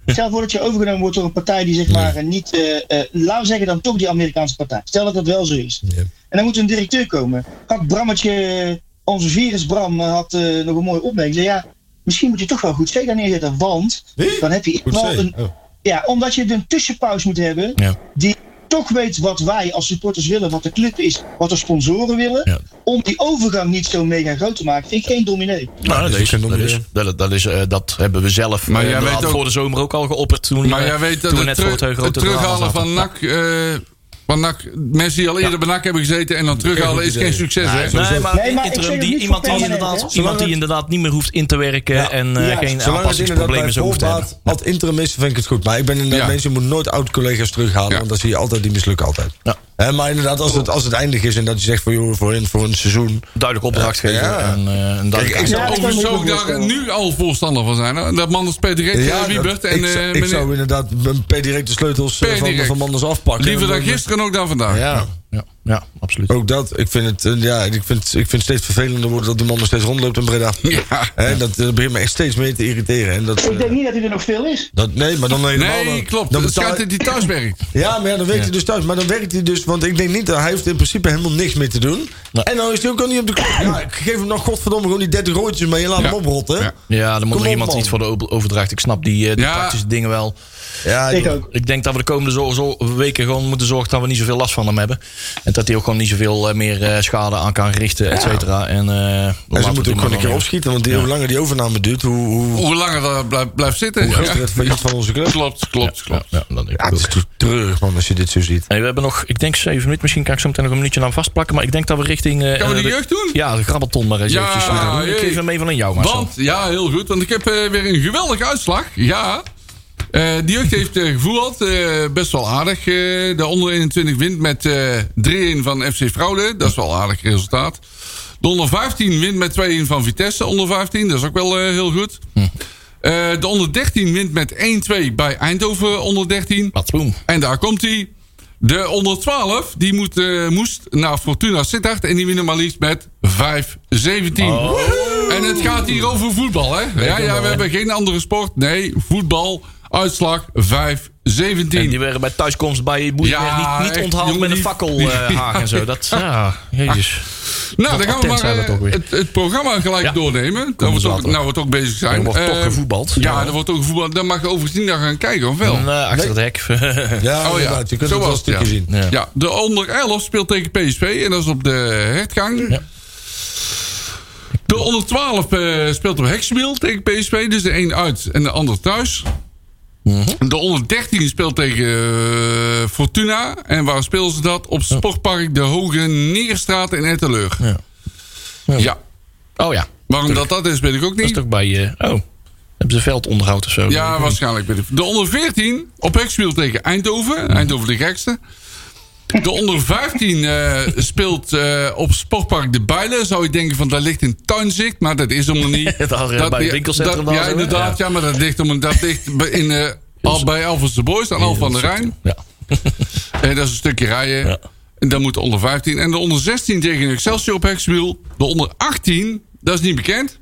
Speaker 6: stel voor dat je overgenomen wordt door een partij die zeg maar eh, niet, eh eh, laten we zeggen dan toch die Amerikaanse partij. Stel dat dat wel zo is.
Speaker 4: Ja.
Speaker 6: En dan moet een directeur komen. Had Brammetje, eh, onze virus Bram, eh, had eh, nog een mooie opmerking. Zei, ja, misschien moet je toch wel goed C daar neerzetten, want
Speaker 4: Wie?
Speaker 6: dan heb je in ieder
Speaker 4: Goed
Speaker 6: geval
Speaker 4: C.
Speaker 6: een,
Speaker 4: Oh.
Speaker 6: Ja, omdat je een tussenpauze moet hebben
Speaker 3: Ja.
Speaker 6: die toch weet wat wij als supporters willen, wat de club is, wat de sponsoren willen.
Speaker 3: Ja.
Speaker 6: Om die overgang niet zo mega groot te maken, vind ik geen dominee.
Speaker 3: Nou, dat,
Speaker 4: dat
Speaker 3: is,
Speaker 4: is ook
Speaker 3: dat,
Speaker 4: een
Speaker 3: is, dat, dat is, eh, dat hebben we zelf
Speaker 5: Maar
Speaker 3: eh,
Speaker 5: jij weet
Speaker 3: inderdaad
Speaker 5: ook-
Speaker 3: voor de zomer ook al geopperd. Toen,
Speaker 5: Maar
Speaker 3: eh,
Speaker 5: jij weet dat
Speaker 3: toen we
Speaker 5: het,
Speaker 3: net
Speaker 5: terug-
Speaker 3: voor het
Speaker 5: het
Speaker 3: grote drama
Speaker 5: terughalen
Speaker 3: zaten.
Speaker 5: van NAC... eh, van NAC, mensen die al eerder bij NAC hebben gezeten en dan terughalen is geen succes, hè?
Speaker 3: Nee, maar,
Speaker 6: Nee, maar ik zeg
Speaker 3: interim,
Speaker 6: het
Speaker 3: die,
Speaker 6: niet
Speaker 3: iemand,
Speaker 6: voor
Speaker 3: die
Speaker 6: permanent,
Speaker 3: inderdaad,
Speaker 6: hè?
Speaker 3: iemand die
Speaker 4: het-
Speaker 3: inderdaad niet meer hoeft in te werken en eh,
Speaker 6: Ja,
Speaker 3: geen
Speaker 4: Zolang het inderdaad bij
Speaker 3: aanpassingsproblemen zo hoeft te hebben.
Speaker 4: voorbaat wat interim is, vind ik het goed. Maar ik ben inderdaad
Speaker 5: Ja.
Speaker 4: mensen, je moet nooit oud-collega's terughalen.
Speaker 5: Ja.
Speaker 4: Want dan zie je altijd, die mislukken altijd.
Speaker 3: Ja.
Speaker 4: Hè, maar inderdaad, als het, als het eindig is en dat je zegt van joh, voor een, voor een seizoen.
Speaker 3: Duidelijk opdracht
Speaker 4: Ja.
Speaker 3: geven en eh, een duidelijk
Speaker 4: ik
Speaker 3: aantal-
Speaker 4: zou-
Speaker 6: Ja, dat kan
Speaker 5: Overigens
Speaker 6: ik
Speaker 5: zou
Speaker 6: ook
Speaker 5: ik
Speaker 6: nog
Speaker 5: daar
Speaker 6: voorstellen.
Speaker 5: nu al voorstander van zijn. hè. Dat man speelt direct ja,
Speaker 4: dat-
Speaker 5: eh, Wiebert en
Speaker 4: ik, zou-
Speaker 5: eh,
Speaker 4: ik zou
Speaker 5: meneer...
Speaker 4: inderdaad per direct de sleutels eh,
Speaker 5: Per
Speaker 4: van,
Speaker 5: direct.
Speaker 4: van Manders afpakken.
Speaker 5: Liever
Speaker 4: En dan-
Speaker 5: dan gisteren ook dan vandaag.
Speaker 4: Ja.
Speaker 3: ja, ja, absoluut.
Speaker 4: Ook dat, ik vind het, eh, ja, ik vind, ik vind het steeds vervelender worden dat die man nog steeds rondloopt in Breda.
Speaker 5: Ja.
Speaker 4: Hè, dat eh, begint me echt steeds meer te irriteren. En dat,
Speaker 6: Ik
Speaker 4: eh,
Speaker 6: denk niet dat hij er nog veel is.
Speaker 4: dat, nee, maar dan helemaal
Speaker 5: Nee,
Speaker 4: dan-
Speaker 5: klopt.
Speaker 4: Dan
Speaker 5: Het
Speaker 4: betaal-
Speaker 5: schijnt dat hij thuis werkt.
Speaker 4: ja, maar ja, dan werkt hij dus thuis. Maar dan werkt hij dus, want ik denk niet dat hij hoeft in principe helemaal niks meer te doen.
Speaker 3: Nee.
Speaker 4: En dan is hij ook al niet op de klok. Ja, ik geef hem nog godverdomme gewoon die 30 roodjes mee en laat
Speaker 5: Ja.
Speaker 4: hem oprotten.
Speaker 5: Ja.
Speaker 4: Ja,
Speaker 3: Ja, dan moet
Speaker 4: Kom
Speaker 3: nog
Speaker 4: op,
Speaker 3: iemand
Speaker 4: man.
Speaker 3: iets voor de o- overdracht. Ik snap die, eh, die
Speaker 5: Ja.
Speaker 3: praktische dingen wel.
Speaker 6: Ik
Speaker 4: joh.
Speaker 6: ook.
Speaker 3: Ik denk dat we de komende zo- zo- weken gewoon moeten zorgen dat we niet zoveel last van hem hebben. En dat hij ook gewoon niet zoveel eh, meer eh, schade aan kan richten, et cetera. En, eh, laten we
Speaker 4: En
Speaker 3: het
Speaker 4: ze moeten
Speaker 3: doen
Speaker 4: ook gewoon
Speaker 3: maar
Speaker 4: een keer
Speaker 3: dan.
Speaker 4: opschieten, want die- hoe langer die overname duurt, hoe, hoe,
Speaker 5: Hoe langer dat blijft, blijft zitten.
Speaker 4: hoe
Speaker 5: Ja.
Speaker 4: groter het failliet van onze club.
Speaker 5: Klopt, klopt,
Speaker 3: Ja,
Speaker 5: klopt.
Speaker 3: ja, dat denk ik
Speaker 4: Ja, het
Speaker 3: ook.
Speaker 4: is toch treurig, man, als je dit zo ziet.
Speaker 3: Hey, we hebben nog, ik denk zeven minuten. Misschien kan ik zo meteen nog een minuutje aan vastplakken. Maar ik denk dat we richting... eh,
Speaker 5: Gaan we
Speaker 3: eh,
Speaker 5: de jeugd doen?
Speaker 3: Ja, de grabbelton maar eens
Speaker 5: Ja,
Speaker 3: eventjes moeten doen. Ik
Speaker 5: jee.
Speaker 3: geef hem even aan jou, maar
Speaker 5: Want, ja, heel goed. Want ik heb eh, weer een geweldige uitslag. Ja. Eh de jeugd heeft eh, gevoetbald. eh, best wel aardig. eh, de onder 21 wint met eh 3-1 van FC Fraude. Dat is wel een aardig resultaat. De onder 15 wint met 2-1 van Vitesse. Onder 15, dat is ook wel eh, heel goed. Eh, de onder 13 wint met 1-2 bij Eindhoven onder 13.
Speaker 3: Patsoen.
Speaker 5: En daar komt hij. De onder 12, die moet, eh, moest naar Fortuna Sittard. En die winnen maar liefst met 5-17.
Speaker 3: Oh.
Speaker 5: En het gaat hier over voetbal, hè? Ja, ja, we hebben geen andere sport. Nee, voetbal. Uitslag 5-17.
Speaker 3: En die werden bij thuiskomst bij Boeijer
Speaker 5: Ja,
Speaker 3: niet, niet
Speaker 5: echt,
Speaker 3: onthaald
Speaker 5: jongen,
Speaker 3: met een
Speaker 5: die-
Speaker 3: fakkelhaag eh,
Speaker 5: die-
Speaker 3: en
Speaker 5: *laughs*
Speaker 3: zo. Dat, ja, jezus.
Speaker 5: nou, dan gaan we
Speaker 3: attent
Speaker 5: maar
Speaker 3: zijn we
Speaker 5: eh,
Speaker 3: toch weer.
Speaker 5: het, het programma gelijk
Speaker 3: Ja.
Speaker 5: doornemen. Dan
Speaker 3: we
Speaker 5: we ook,
Speaker 3: zaterdag.
Speaker 5: nou, we toch bezig zijn.
Speaker 3: Er wordt toch
Speaker 5: Eh,
Speaker 3: gevoetbald.
Speaker 5: Ja,
Speaker 3: Ja.
Speaker 5: er wordt ook gevoetbald. Dan mag je overigens niet naar gaan kijken, of wel?
Speaker 3: En, eh, achter het hek. *laughs*
Speaker 4: Ja,
Speaker 5: Oh ja,
Speaker 4: inderdaad, je kunt
Speaker 5: zo
Speaker 4: het wel een
Speaker 5: was het,
Speaker 4: stukje
Speaker 5: ja.
Speaker 4: zien.
Speaker 3: Ja.
Speaker 5: Ja, de onder 11 speelt tegen PSV en dat is op de hertgang.
Speaker 3: Ja.
Speaker 5: De onder 12 eh, speelt op Hexmiel tegen PSV, dus de een uit en de ander thuis.
Speaker 3: Mhm.
Speaker 5: De onder 13 speelt tegen eh, Fortuna. En waar speelden ze dat? Op Sportpark de Hoge Neerstraat in Etteleur.
Speaker 3: Ja.
Speaker 5: Ja.
Speaker 3: Oh ja,
Speaker 5: Waarom dat dat is, weet ik ook
Speaker 3: dat is
Speaker 5: niet.
Speaker 3: toch bij... eh, oh, hebben ze veldonderhoud of zo?
Speaker 5: Ja, waarschijnlijk. weet ik. De onder 14 op Hexwiel tegen
Speaker 3: Mhm.
Speaker 5: Eindhoven. Eindhoven de gekste. De onder 15 eh, speelt eh, op Sportpark De Bijlen. Zou je denken van dat ligt in tuinzicht, maar dat is helemaal
Speaker 3: *laughs*
Speaker 5: niet.
Speaker 3: Daar, eh, bij het winkelcentrum
Speaker 5: dat-
Speaker 3: daar
Speaker 5: Ja,
Speaker 3: zo, hè?
Speaker 5: inderdaad. Ja, maar dat ligt, om, dat ligt bij- in, eh, al bij Alphonse de Boys aan Al van der Rijn.
Speaker 3: Ja.
Speaker 5: Eh, dat is een stukje rijden.
Speaker 3: Ja.
Speaker 5: En dan moet de onder 15. En de onder 16 tegen Excelsior op Hexwiel. De onder 18, dat is niet bekend.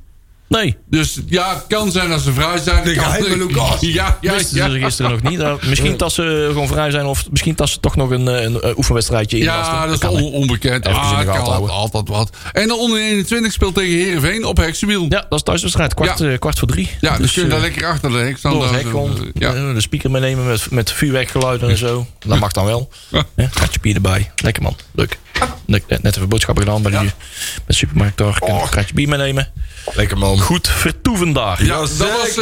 Speaker 3: Nee,
Speaker 5: Dus ja, het kan zijn dat ze vrij zijn.
Speaker 4: De
Speaker 5: Kan-
Speaker 4: geheime Lucas.
Speaker 5: Ja, ja,
Speaker 3: wisten
Speaker 5: ja.
Speaker 3: ze gisteren nog niet. Nou, misschien dat ze gewoon vrij zijn of misschien dat ze toch nog een, eh, een eh, oefenwedstrijdje inlasten.
Speaker 5: Ja, dat is
Speaker 3: kan, hè?
Speaker 5: on- onbekend.
Speaker 3: Even in
Speaker 5: Ah,
Speaker 3: de gaten
Speaker 5: kan altijd,
Speaker 3: houden.
Speaker 5: altijd wat. En de onder 21 speelt tegen Herenveen op Heksenwiel. Ja,
Speaker 3: Ja, dat is thuiswedstrijd. Kwart,
Speaker 5: Ja.
Speaker 3: eh, kwart voor drie.
Speaker 5: dus, kun je
Speaker 3: eh,
Speaker 5: daar lekker achter de hek staan.
Speaker 3: door het
Speaker 5: Daar
Speaker 3: hek
Speaker 5: zo-
Speaker 3: rond.
Speaker 5: Ja.
Speaker 3: Eh, De speaker meenemen met, met vuurwerkgeluiden en zo. Dat mag dan
Speaker 5: *laughs*
Speaker 3: wel. Ja, katje bier erbij. Lekker man. Leuk. Net, net even boodschappen gedaan bij de, bij de supermarkt. Daar kan ik een kratje bier meenemen.
Speaker 4: Lekker man.
Speaker 3: Goed vertoeven daar.
Speaker 5: Ja, dat was eh,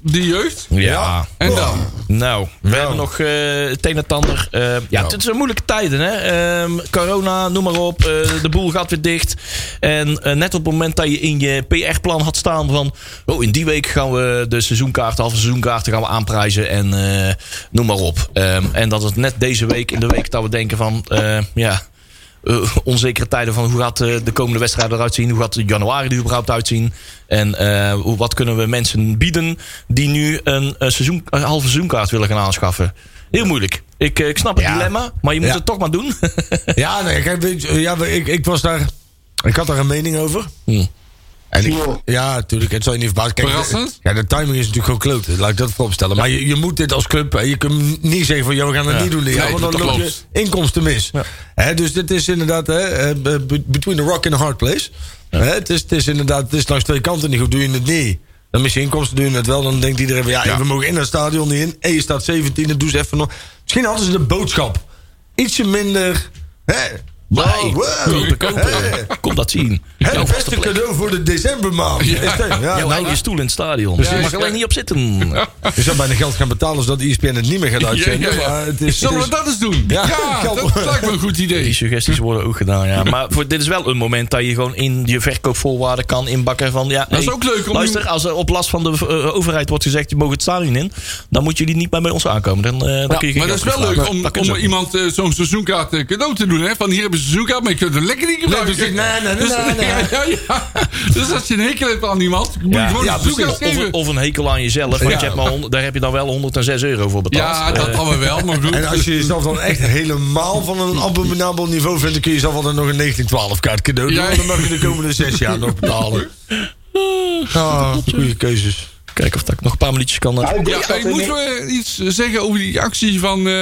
Speaker 5: de jeugd.
Speaker 3: Ja.
Speaker 5: En dan?
Speaker 3: Nou, we hebben nog eh het een en het ander. Eh, ja, het zijn moeilijke tijden, hè. Ehm, corona, noem maar op. eh, de boel gaat weer dicht. En eh, net op het moment dat je in je PR-plan had staan van... Oh, in die week gaan we de seizoenkaarten, halve seizoenkaarten gaan we aanprijzen. En eh, noem maar op. Ehm, en dat het net deze week, in de week dat we denken van... eh, ja, eh, onzekere tijden van hoe gaat eh, de komende wedstrijd eruit zien? Hoe gaat de januari er überhaupt uitzien? En eh, hoe- wat kunnen we mensen bieden die nu een, eh, seizoen, een halve seizoenkaart willen gaan aanschaffen? Heel moeilijk. Ik, eh, ik snap het
Speaker 4: Ja.
Speaker 3: dilemma, maar je moet
Speaker 4: Ja.
Speaker 3: het toch maar doen. *laughs*
Speaker 4: Ja, nee, kijk, weet je, ja, ik, ik was daar. Ik had daar een mening over.
Speaker 3: Hm.
Speaker 4: En ik, ja, natuurlijk. Het zal je niet verbazen. Kijk,
Speaker 5: Verrassend.
Speaker 4: Ja, de timing is natuurlijk gewoon kloten. Laat ik dat voorop stellen. Maar je, je moet dit als club. hè, Je kunt niet zeggen van. Ja, we gaan het niet doen. dit jaar,
Speaker 5: Nee,
Speaker 4: want dan
Speaker 5: dat
Speaker 4: loop je
Speaker 5: klopt.
Speaker 4: inkomsten mis. Hè, dus dit is inderdaad. Hè, eh, be- between the rock and the hard place. Hè, het, is, het is inderdaad. Het is langs twee kanten niet goed. Doe je het niet. Dan mis je inkomsten doen het wel. Dan denkt iedereen van ja,
Speaker 5: Ja.
Speaker 4: we mogen in het stadion niet in. En je staat 17, dat doe ze even nog. Misschien hadden ze de boodschap. Ietsje minder. Hè? Oh,
Speaker 3: Nee,
Speaker 4: wow.
Speaker 3: te kopen.
Speaker 4: Hè?
Speaker 3: Kom dat zien.
Speaker 4: Het
Speaker 3: Jouw vaste
Speaker 4: beste
Speaker 3: plek.
Speaker 4: cadeau voor de decembermaand.
Speaker 5: Ja.
Speaker 4: Ja. Is dat, ja,
Speaker 3: Jouw
Speaker 4: nou,
Speaker 3: eigen stoel in het stadion. Je mag er alleen niet op zitten.
Speaker 4: *laughs* je zou bijna geld gaan betalen zodat E ESPN het niet meer gaat
Speaker 5: Ja,
Speaker 4: uitzenden.
Speaker 5: ja, ja.
Speaker 4: maar het is-
Speaker 5: Zullen
Speaker 4: het
Speaker 5: we
Speaker 4: is-
Speaker 5: dat eens doen? Ja,
Speaker 4: Ja,
Speaker 5: dat,
Speaker 4: geld-
Speaker 5: lijkt me een goed
Speaker 3: Die
Speaker 5: idee.
Speaker 3: suggesties worden ook
Speaker 5: *laughs*
Speaker 3: gedaan, ja. Maar voor, dit is wel een moment dat je gewoon in je verkoopvoorwaarden kan inbakken van... Ja,
Speaker 5: Dat is ook leuk om-
Speaker 3: Luister, als er op last van de eh, overheid wordt gezegd... je mag het stadion in, dan moeten jullie niet bij bij ons aankomen. Dan, eh, dan kun je geen
Speaker 5: Maar dat is
Speaker 3: geld meer
Speaker 5: wel leuk
Speaker 3: vragen.
Speaker 5: om,
Speaker 3: Dat kunnen
Speaker 5: om
Speaker 3: ze ook niet.
Speaker 5: iemand eh, zo'n seizoenkaart eh, cadeau te doen. Hè? Van hier hebben ze een seizoenkaart, maar je kunt er lekker niet gebruiken.
Speaker 4: precies. Nee, nee, nee,
Speaker 5: dus,
Speaker 4: nee,
Speaker 5: *laughs*
Speaker 4: nee.
Speaker 5: Ja, ja, ja. dus als je een hekel hebt aan iemand, moet je
Speaker 3: Ja,
Speaker 5: gewoon
Speaker 3: ja,
Speaker 5: een seizoenkaart
Speaker 3: precies. of,
Speaker 5: geven.
Speaker 3: een- of een hekel aan jezelf. Want
Speaker 4: Ja.
Speaker 3: je hebt maar hond- daar heb je dan wel 106 euro voor betaald.
Speaker 5: ja, dat
Speaker 3: Eh,
Speaker 5: hadden we wel, maar goed.
Speaker 4: En als je jezelf dan
Speaker 5: *laughs*
Speaker 4: echt helemaal van een abominabel niveau vindt... dan kun je jezelf altijd nog een 1912 kaart cadeau doen.
Speaker 5: Ja.
Speaker 4: En dan mag je de komende zes jaar nog
Speaker 5: *laughs*
Speaker 4: betalen. Ah, goede keuzes.
Speaker 3: Kijken Eh, of dat ik nog een paar minuutjes kan... eh,
Speaker 6: Nou, ik denk
Speaker 5: Ja,
Speaker 6: dat
Speaker 5: hey,
Speaker 6: er
Speaker 5: moeten we iets zeggen over die actie van eh,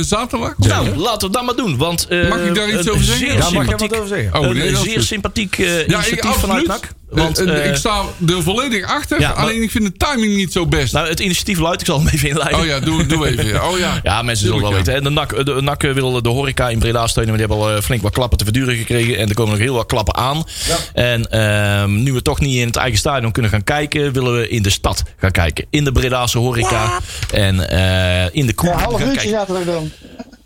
Speaker 5: zaterdag?
Speaker 3: Nou, laten we dat maar doen. Want, eh,
Speaker 5: Mag ik daar iets
Speaker 3: een
Speaker 5: over zeggen?
Speaker 3: zeer
Speaker 5: Ja, mag
Speaker 4: jij wat
Speaker 3: sympathiek-
Speaker 4: over zeggen?
Speaker 5: Oh, nee,
Speaker 3: een
Speaker 5: dat is
Speaker 3: zeer
Speaker 5: goed.
Speaker 3: sympathiek eh,
Speaker 5: Ja, ik,
Speaker 3: initiatief
Speaker 5: absoluut.
Speaker 3: vanuit NAC.
Speaker 5: Want,
Speaker 3: Want, eh,
Speaker 5: ik sta er volledig achter,
Speaker 3: ja, maar-
Speaker 5: alleen ik vind de timing niet zo best.
Speaker 3: nou, het initiatief luidt, ik zal hem even inleiden.
Speaker 5: oh ja, doe, doe even. ja. Oh ja.
Speaker 3: *laughs* Ja, mensen zullen
Speaker 5: Tuurlijk,
Speaker 3: wel
Speaker 5: ja.
Speaker 3: weten. En de NAC, de NAC eh, wil de horeca in Breda steunen. Maar die hebben al eh, flink wat klappen te verduren gekregen. En er komen nog heel wat klappen aan. En ehm, nu we toch niet in het eigen stadion kunnen gaan kijken... willen we in de stad gaan kijken. In de Bredaanse horeca. En eh, in de
Speaker 6: Ja,
Speaker 3: kroeg
Speaker 6: een half
Speaker 3: gaan
Speaker 6: uurtje
Speaker 3: kijken.
Speaker 6: zaterdag dan.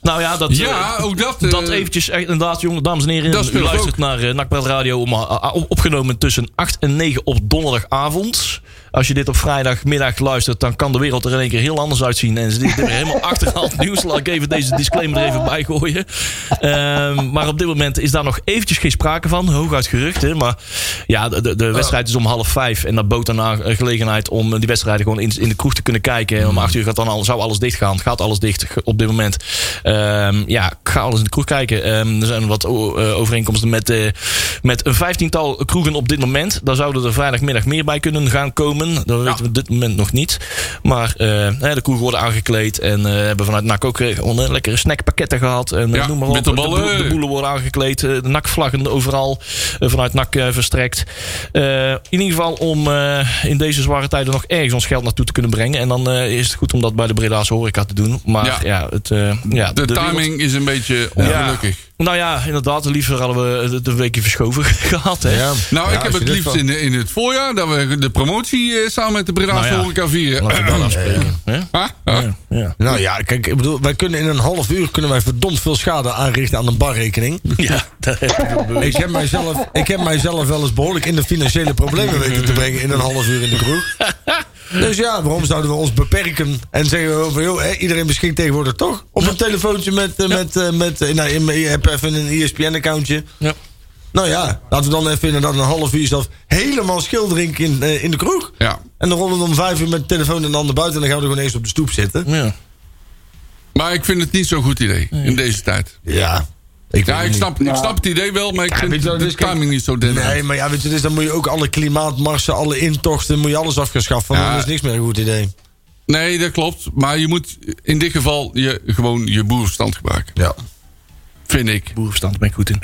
Speaker 3: Nou ja, dat...
Speaker 5: Ja,
Speaker 3: eh,
Speaker 5: ook dat. eh,
Speaker 3: dat eventjes, echt, inderdaad, jongen, dames en heren.
Speaker 5: Dat
Speaker 3: u
Speaker 5: speelt
Speaker 3: luistert
Speaker 5: ook.
Speaker 3: naar eh, NAC Praat Radio. Om, ah, ah, op- opgenomen tussen 8 en 9 op donderdagavond. Als je dit op vrijdagmiddag luistert, dan kan de wereld er in één keer heel anders uitzien. En ze dit weer helemaal *laughs* achterhaald nieuws. Laat ik even deze disclaimer er even bij gooien. Ehm, maar op dit moment is daar nog eventjes geen sprake van. Hooguit geruchten. Maar ja, de, de, de wedstrijd is om half vijf. En dat bood daarna een gelegenheid om eh, die wedstrijden gewoon in, in de kroeg te kunnen kijken. En om acht uur gaat dan al, zou alles dicht gaan. Gaat alles dicht ge- op dit moment. Ehm, ja, ik ga alles in de kroeg kijken. Ehm, er zijn wat o- eh, overeenkomsten met, eh, met een vijftiental kroegen op dit moment. Daar zouden er vrijdagmiddag meer bij kunnen gaan komen. Dat weten we op dit moment nog niet. Maar eh, hè, de kroegen worden aangekleed. En eh, hebben vanuit NAC ook eh, gewoon, eh, lekkere snackpakketten gehad. En eh,
Speaker 5: Ja,
Speaker 3: noem maar op. De,
Speaker 5: bitterballen.
Speaker 3: boel- de boelen worden aangekleed. eh, De NAC-vlaggen overal eh, vanuit NAC eh, verstrekt. Eh, in ieder geval om eh, in deze zware tijden nog ergens ons geld naartoe te kunnen brengen. En dan eh, is het goed om dat bij de Bredaanse horeca te doen. Maar
Speaker 5: Ja.
Speaker 3: ja, het, eh, ja,
Speaker 5: de,
Speaker 3: wereld-
Speaker 5: timing is een beetje ongelukkig.
Speaker 3: nou ja, inderdaad. Liever hadden we het een weekje verschoven *laughs* gehad. Hè?
Speaker 4: Ja.
Speaker 5: Nou,
Speaker 4: Ja,
Speaker 5: ik
Speaker 4: als
Speaker 5: heb
Speaker 4: je
Speaker 5: het
Speaker 4: dit
Speaker 5: liefst
Speaker 4: van-
Speaker 5: in, in het voorjaar dat we de promotie eh, samen met de Breda's
Speaker 3: Nou ja.
Speaker 5: horeca vieren. Ah,
Speaker 3: Laten we dat
Speaker 5: *clears throat*
Speaker 3: afspreken. hè?
Speaker 5: Huh? Huh?
Speaker 3: Ja.
Speaker 4: Nou ja, kijk, ik bedoel, wij kunnen in een half uur kunnen wij verdomd veel schade aanrichten aan een barrekening.
Speaker 3: *laughs* Ja, dat heb ik wel bewust.
Speaker 4: Ik heb, mijzelf, ik heb mijzelf wel eens behoorlijk in de financiële problemen weten te brengen in een half uur in de kroeg. Dus ja, waarom zouden we ons beperken en zeggen we van joh, hè, iedereen beschikt tegenwoordig toch? Op een telefoontje met, eh, met, eh, met eh, nou, in- je hebt even een E ESPN-accountje.
Speaker 3: Ja.
Speaker 4: Nou ja, laten we dan even inderdaad een half uur zelf helemaal schil drinken in, eh, in de kroeg.
Speaker 5: Ja.
Speaker 4: En dan rollen we om vijf uur met de telefoon en de handen buiten en dan gaan we er gewoon eens op de stoep zitten.
Speaker 3: Ja.
Speaker 5: Maar ik vind het niet zo'n goed idee in deze tijd.
Speaker 4: Ja, ik,
Speaker 5: Ja, ik
Speaker 4: weet het
Speaker 5: snap, ik snap het idee wel, maar ik
Speaker 4: weet
Speaker 5: vind
Speaker 4: je wat,
Speaker 5: de
Speaker 4: dus kijk-
Speaker 5: timing niet zo
Speaker 4: niet.
Speaker 5: dennis.
Speaker 4: Nee, maar ja, weet je, dus dan moet je ook alle klimaatmarsen, alle intochten, moet je alles afgeschaft. Van,
Speaker 5: Ja.
Speaker 4: Dat is niks meer een goed idee.
Speaker 5: Nee, dat klopt. Maar je moet in dit geval je, gewoon je boerenverstand gebruiken.
Speaker 4: Ja.
Speaker 5: Vind ik.
Speaker 3: Boerenverstand, daar ben ik goed in.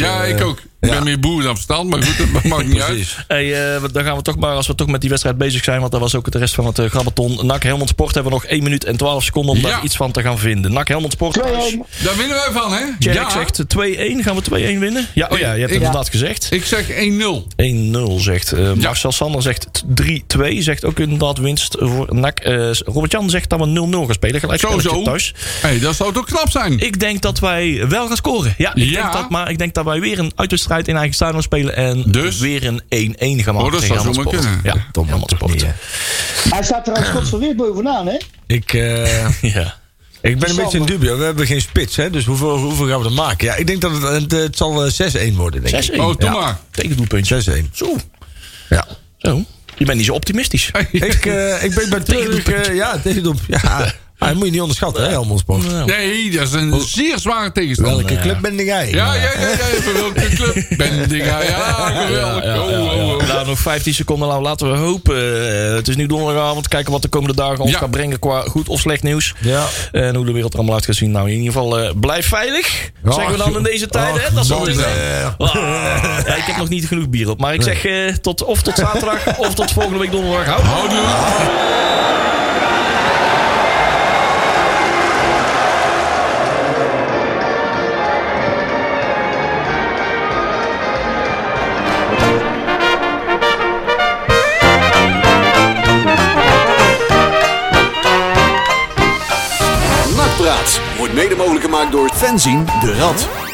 Speaker 5: Ja,
Speaker 4: eh,
Speaker 5: ik ook. Ik ben meer boer dan verstand, maar goed, dat maakt niet uit.
Speaker 4: Precies.
Speaker 3: Hey, eh, wat- dan gaan we toch maar, als we toch met die wedstrijd bezig zijn... want dat was ook het rest van het eh, Grabbaton. NAC Helmond Sport hebben we nog 1 minuut en 12 seconden... om
Speaker 5: Ja.
Speaker 3: daar iets van te gaan vinden. NAC Helmond Sport thuis.
Speaker 6: 2-1.
Speaker 5: Daar winnen wij van, hè?
Speaker 3: Tjerk zegt 2-1. Gaan we 2-1 winnen? Ja, oh ja, je hebt het
Speaker 5: Ik-
Speaker 3: inderdaad gezegd.
Speaker 5: Ik zeg 1-0.
Speaker 3: 1-0 zegt eh, Marcel Sander zegt t- 3-2. Zegt ook inderdaad winst voor NAC. Eh Robert-Jan zegt dat we 0-0 gaan spelen. Gelijk
Speaker 5: Zo, zo.
Speaker 3: thuis.
Speaker 5: hey, dat zou toch knap zijn?
Speaker 3: Ik denk dat wij wel gaan scoren. Ja, ik
Speaker 5: Ja.
Speaker 3: Denk dat, maar ik denk dat wij weer een uitwedstrijd in eigen stadion spelen. En
Speaker 5: Dus?
Speaker 3: weer een 1-1 gaan maken
Speaker 5: Oh, dat
Speaker 3: tegen
Speaker 5: zou zomaar
Speaker 3: Helmond Sport.
Speaker 5: kunnen.
Speaker 3: Ja, Tom Helmond Sport.
Speaker 4: niet,
Speaker 6: Hij
Speaker 5: *clears throat*
Speaker 6: staat trouwens godsver weer bovenaan, hè?
Speaker 4: Ik, *laughs* eh,
Speaker 3: *laughs* ja.
Speaker 4: ik ben een beetje in dubio. We hebben geen spits, hè, dus hoeveel, hoeveel gaan we er maken? Ja, ik denk dat het, het, het zal eh, 6-1 worden, denk ik.
Speaker 3: 6-1.
Speaker 5: Oh, doe
Speaker 3: ja.
Speaker 5: maar.
Speaker 3: Tegendoelpuntje.
Speaker 4: 6-1.
Speaker 3: Zo.
Speaker 4: Ja.
Speaker 3: Zo. Je bent niet zo optimistisch.
Speaker 4: *laughs* Ik, eh, ik ben bij Turk...
Speaker 3: Tegendoelpuntje.
Speaker 4: eh, ja, tegendoel. Ja. Ah, dat moet je niet onderschatten, hè, Helmond Sport.
Speaker 5: Nee, dat is een zeer zware tegenstander.
Speaker 4: Welke club ben jij?
Speaker 5: Ja, ja, ja, ja. Voor welke club ben ik? Ja, ja, geweldig.
Speaker 3: Ja, ja, ja,
Speaker 5: Oh, oh, oh.
Speaker 3: ja. Nou, nog 15 seconden. Nou, laten we hopen. Eh, het is nu donderdagavond. Kijken wat de komende dagen ons
Speaker 5: Ja.
Speaker 3: gaat brengen qua goed of slecht nieuws.
Speaker 4: Ja.
Speaker 3: En hoe de wereld er allemaal uit gaat zien. Nou, in ieder geval, eh, blijf veilig.
Speaker 4: Ja,
Speaker 3: zeggen we dan in deze tijden. hè? Dat is
Speaker 4: dat
Speaker 3: altijd,
Speaker 4: is
Speaker 3: eh, ah, ja, ik heb nog niet genoeg bier op. Maar ik zeg eh, tot, of tot zaterdag of tot volgende week donderdag. Hou.
Speaker 5: Houdoe.
Speaker 2: Nakpraat wordt mede mogelijk gemaakt door Fenzin de Rad.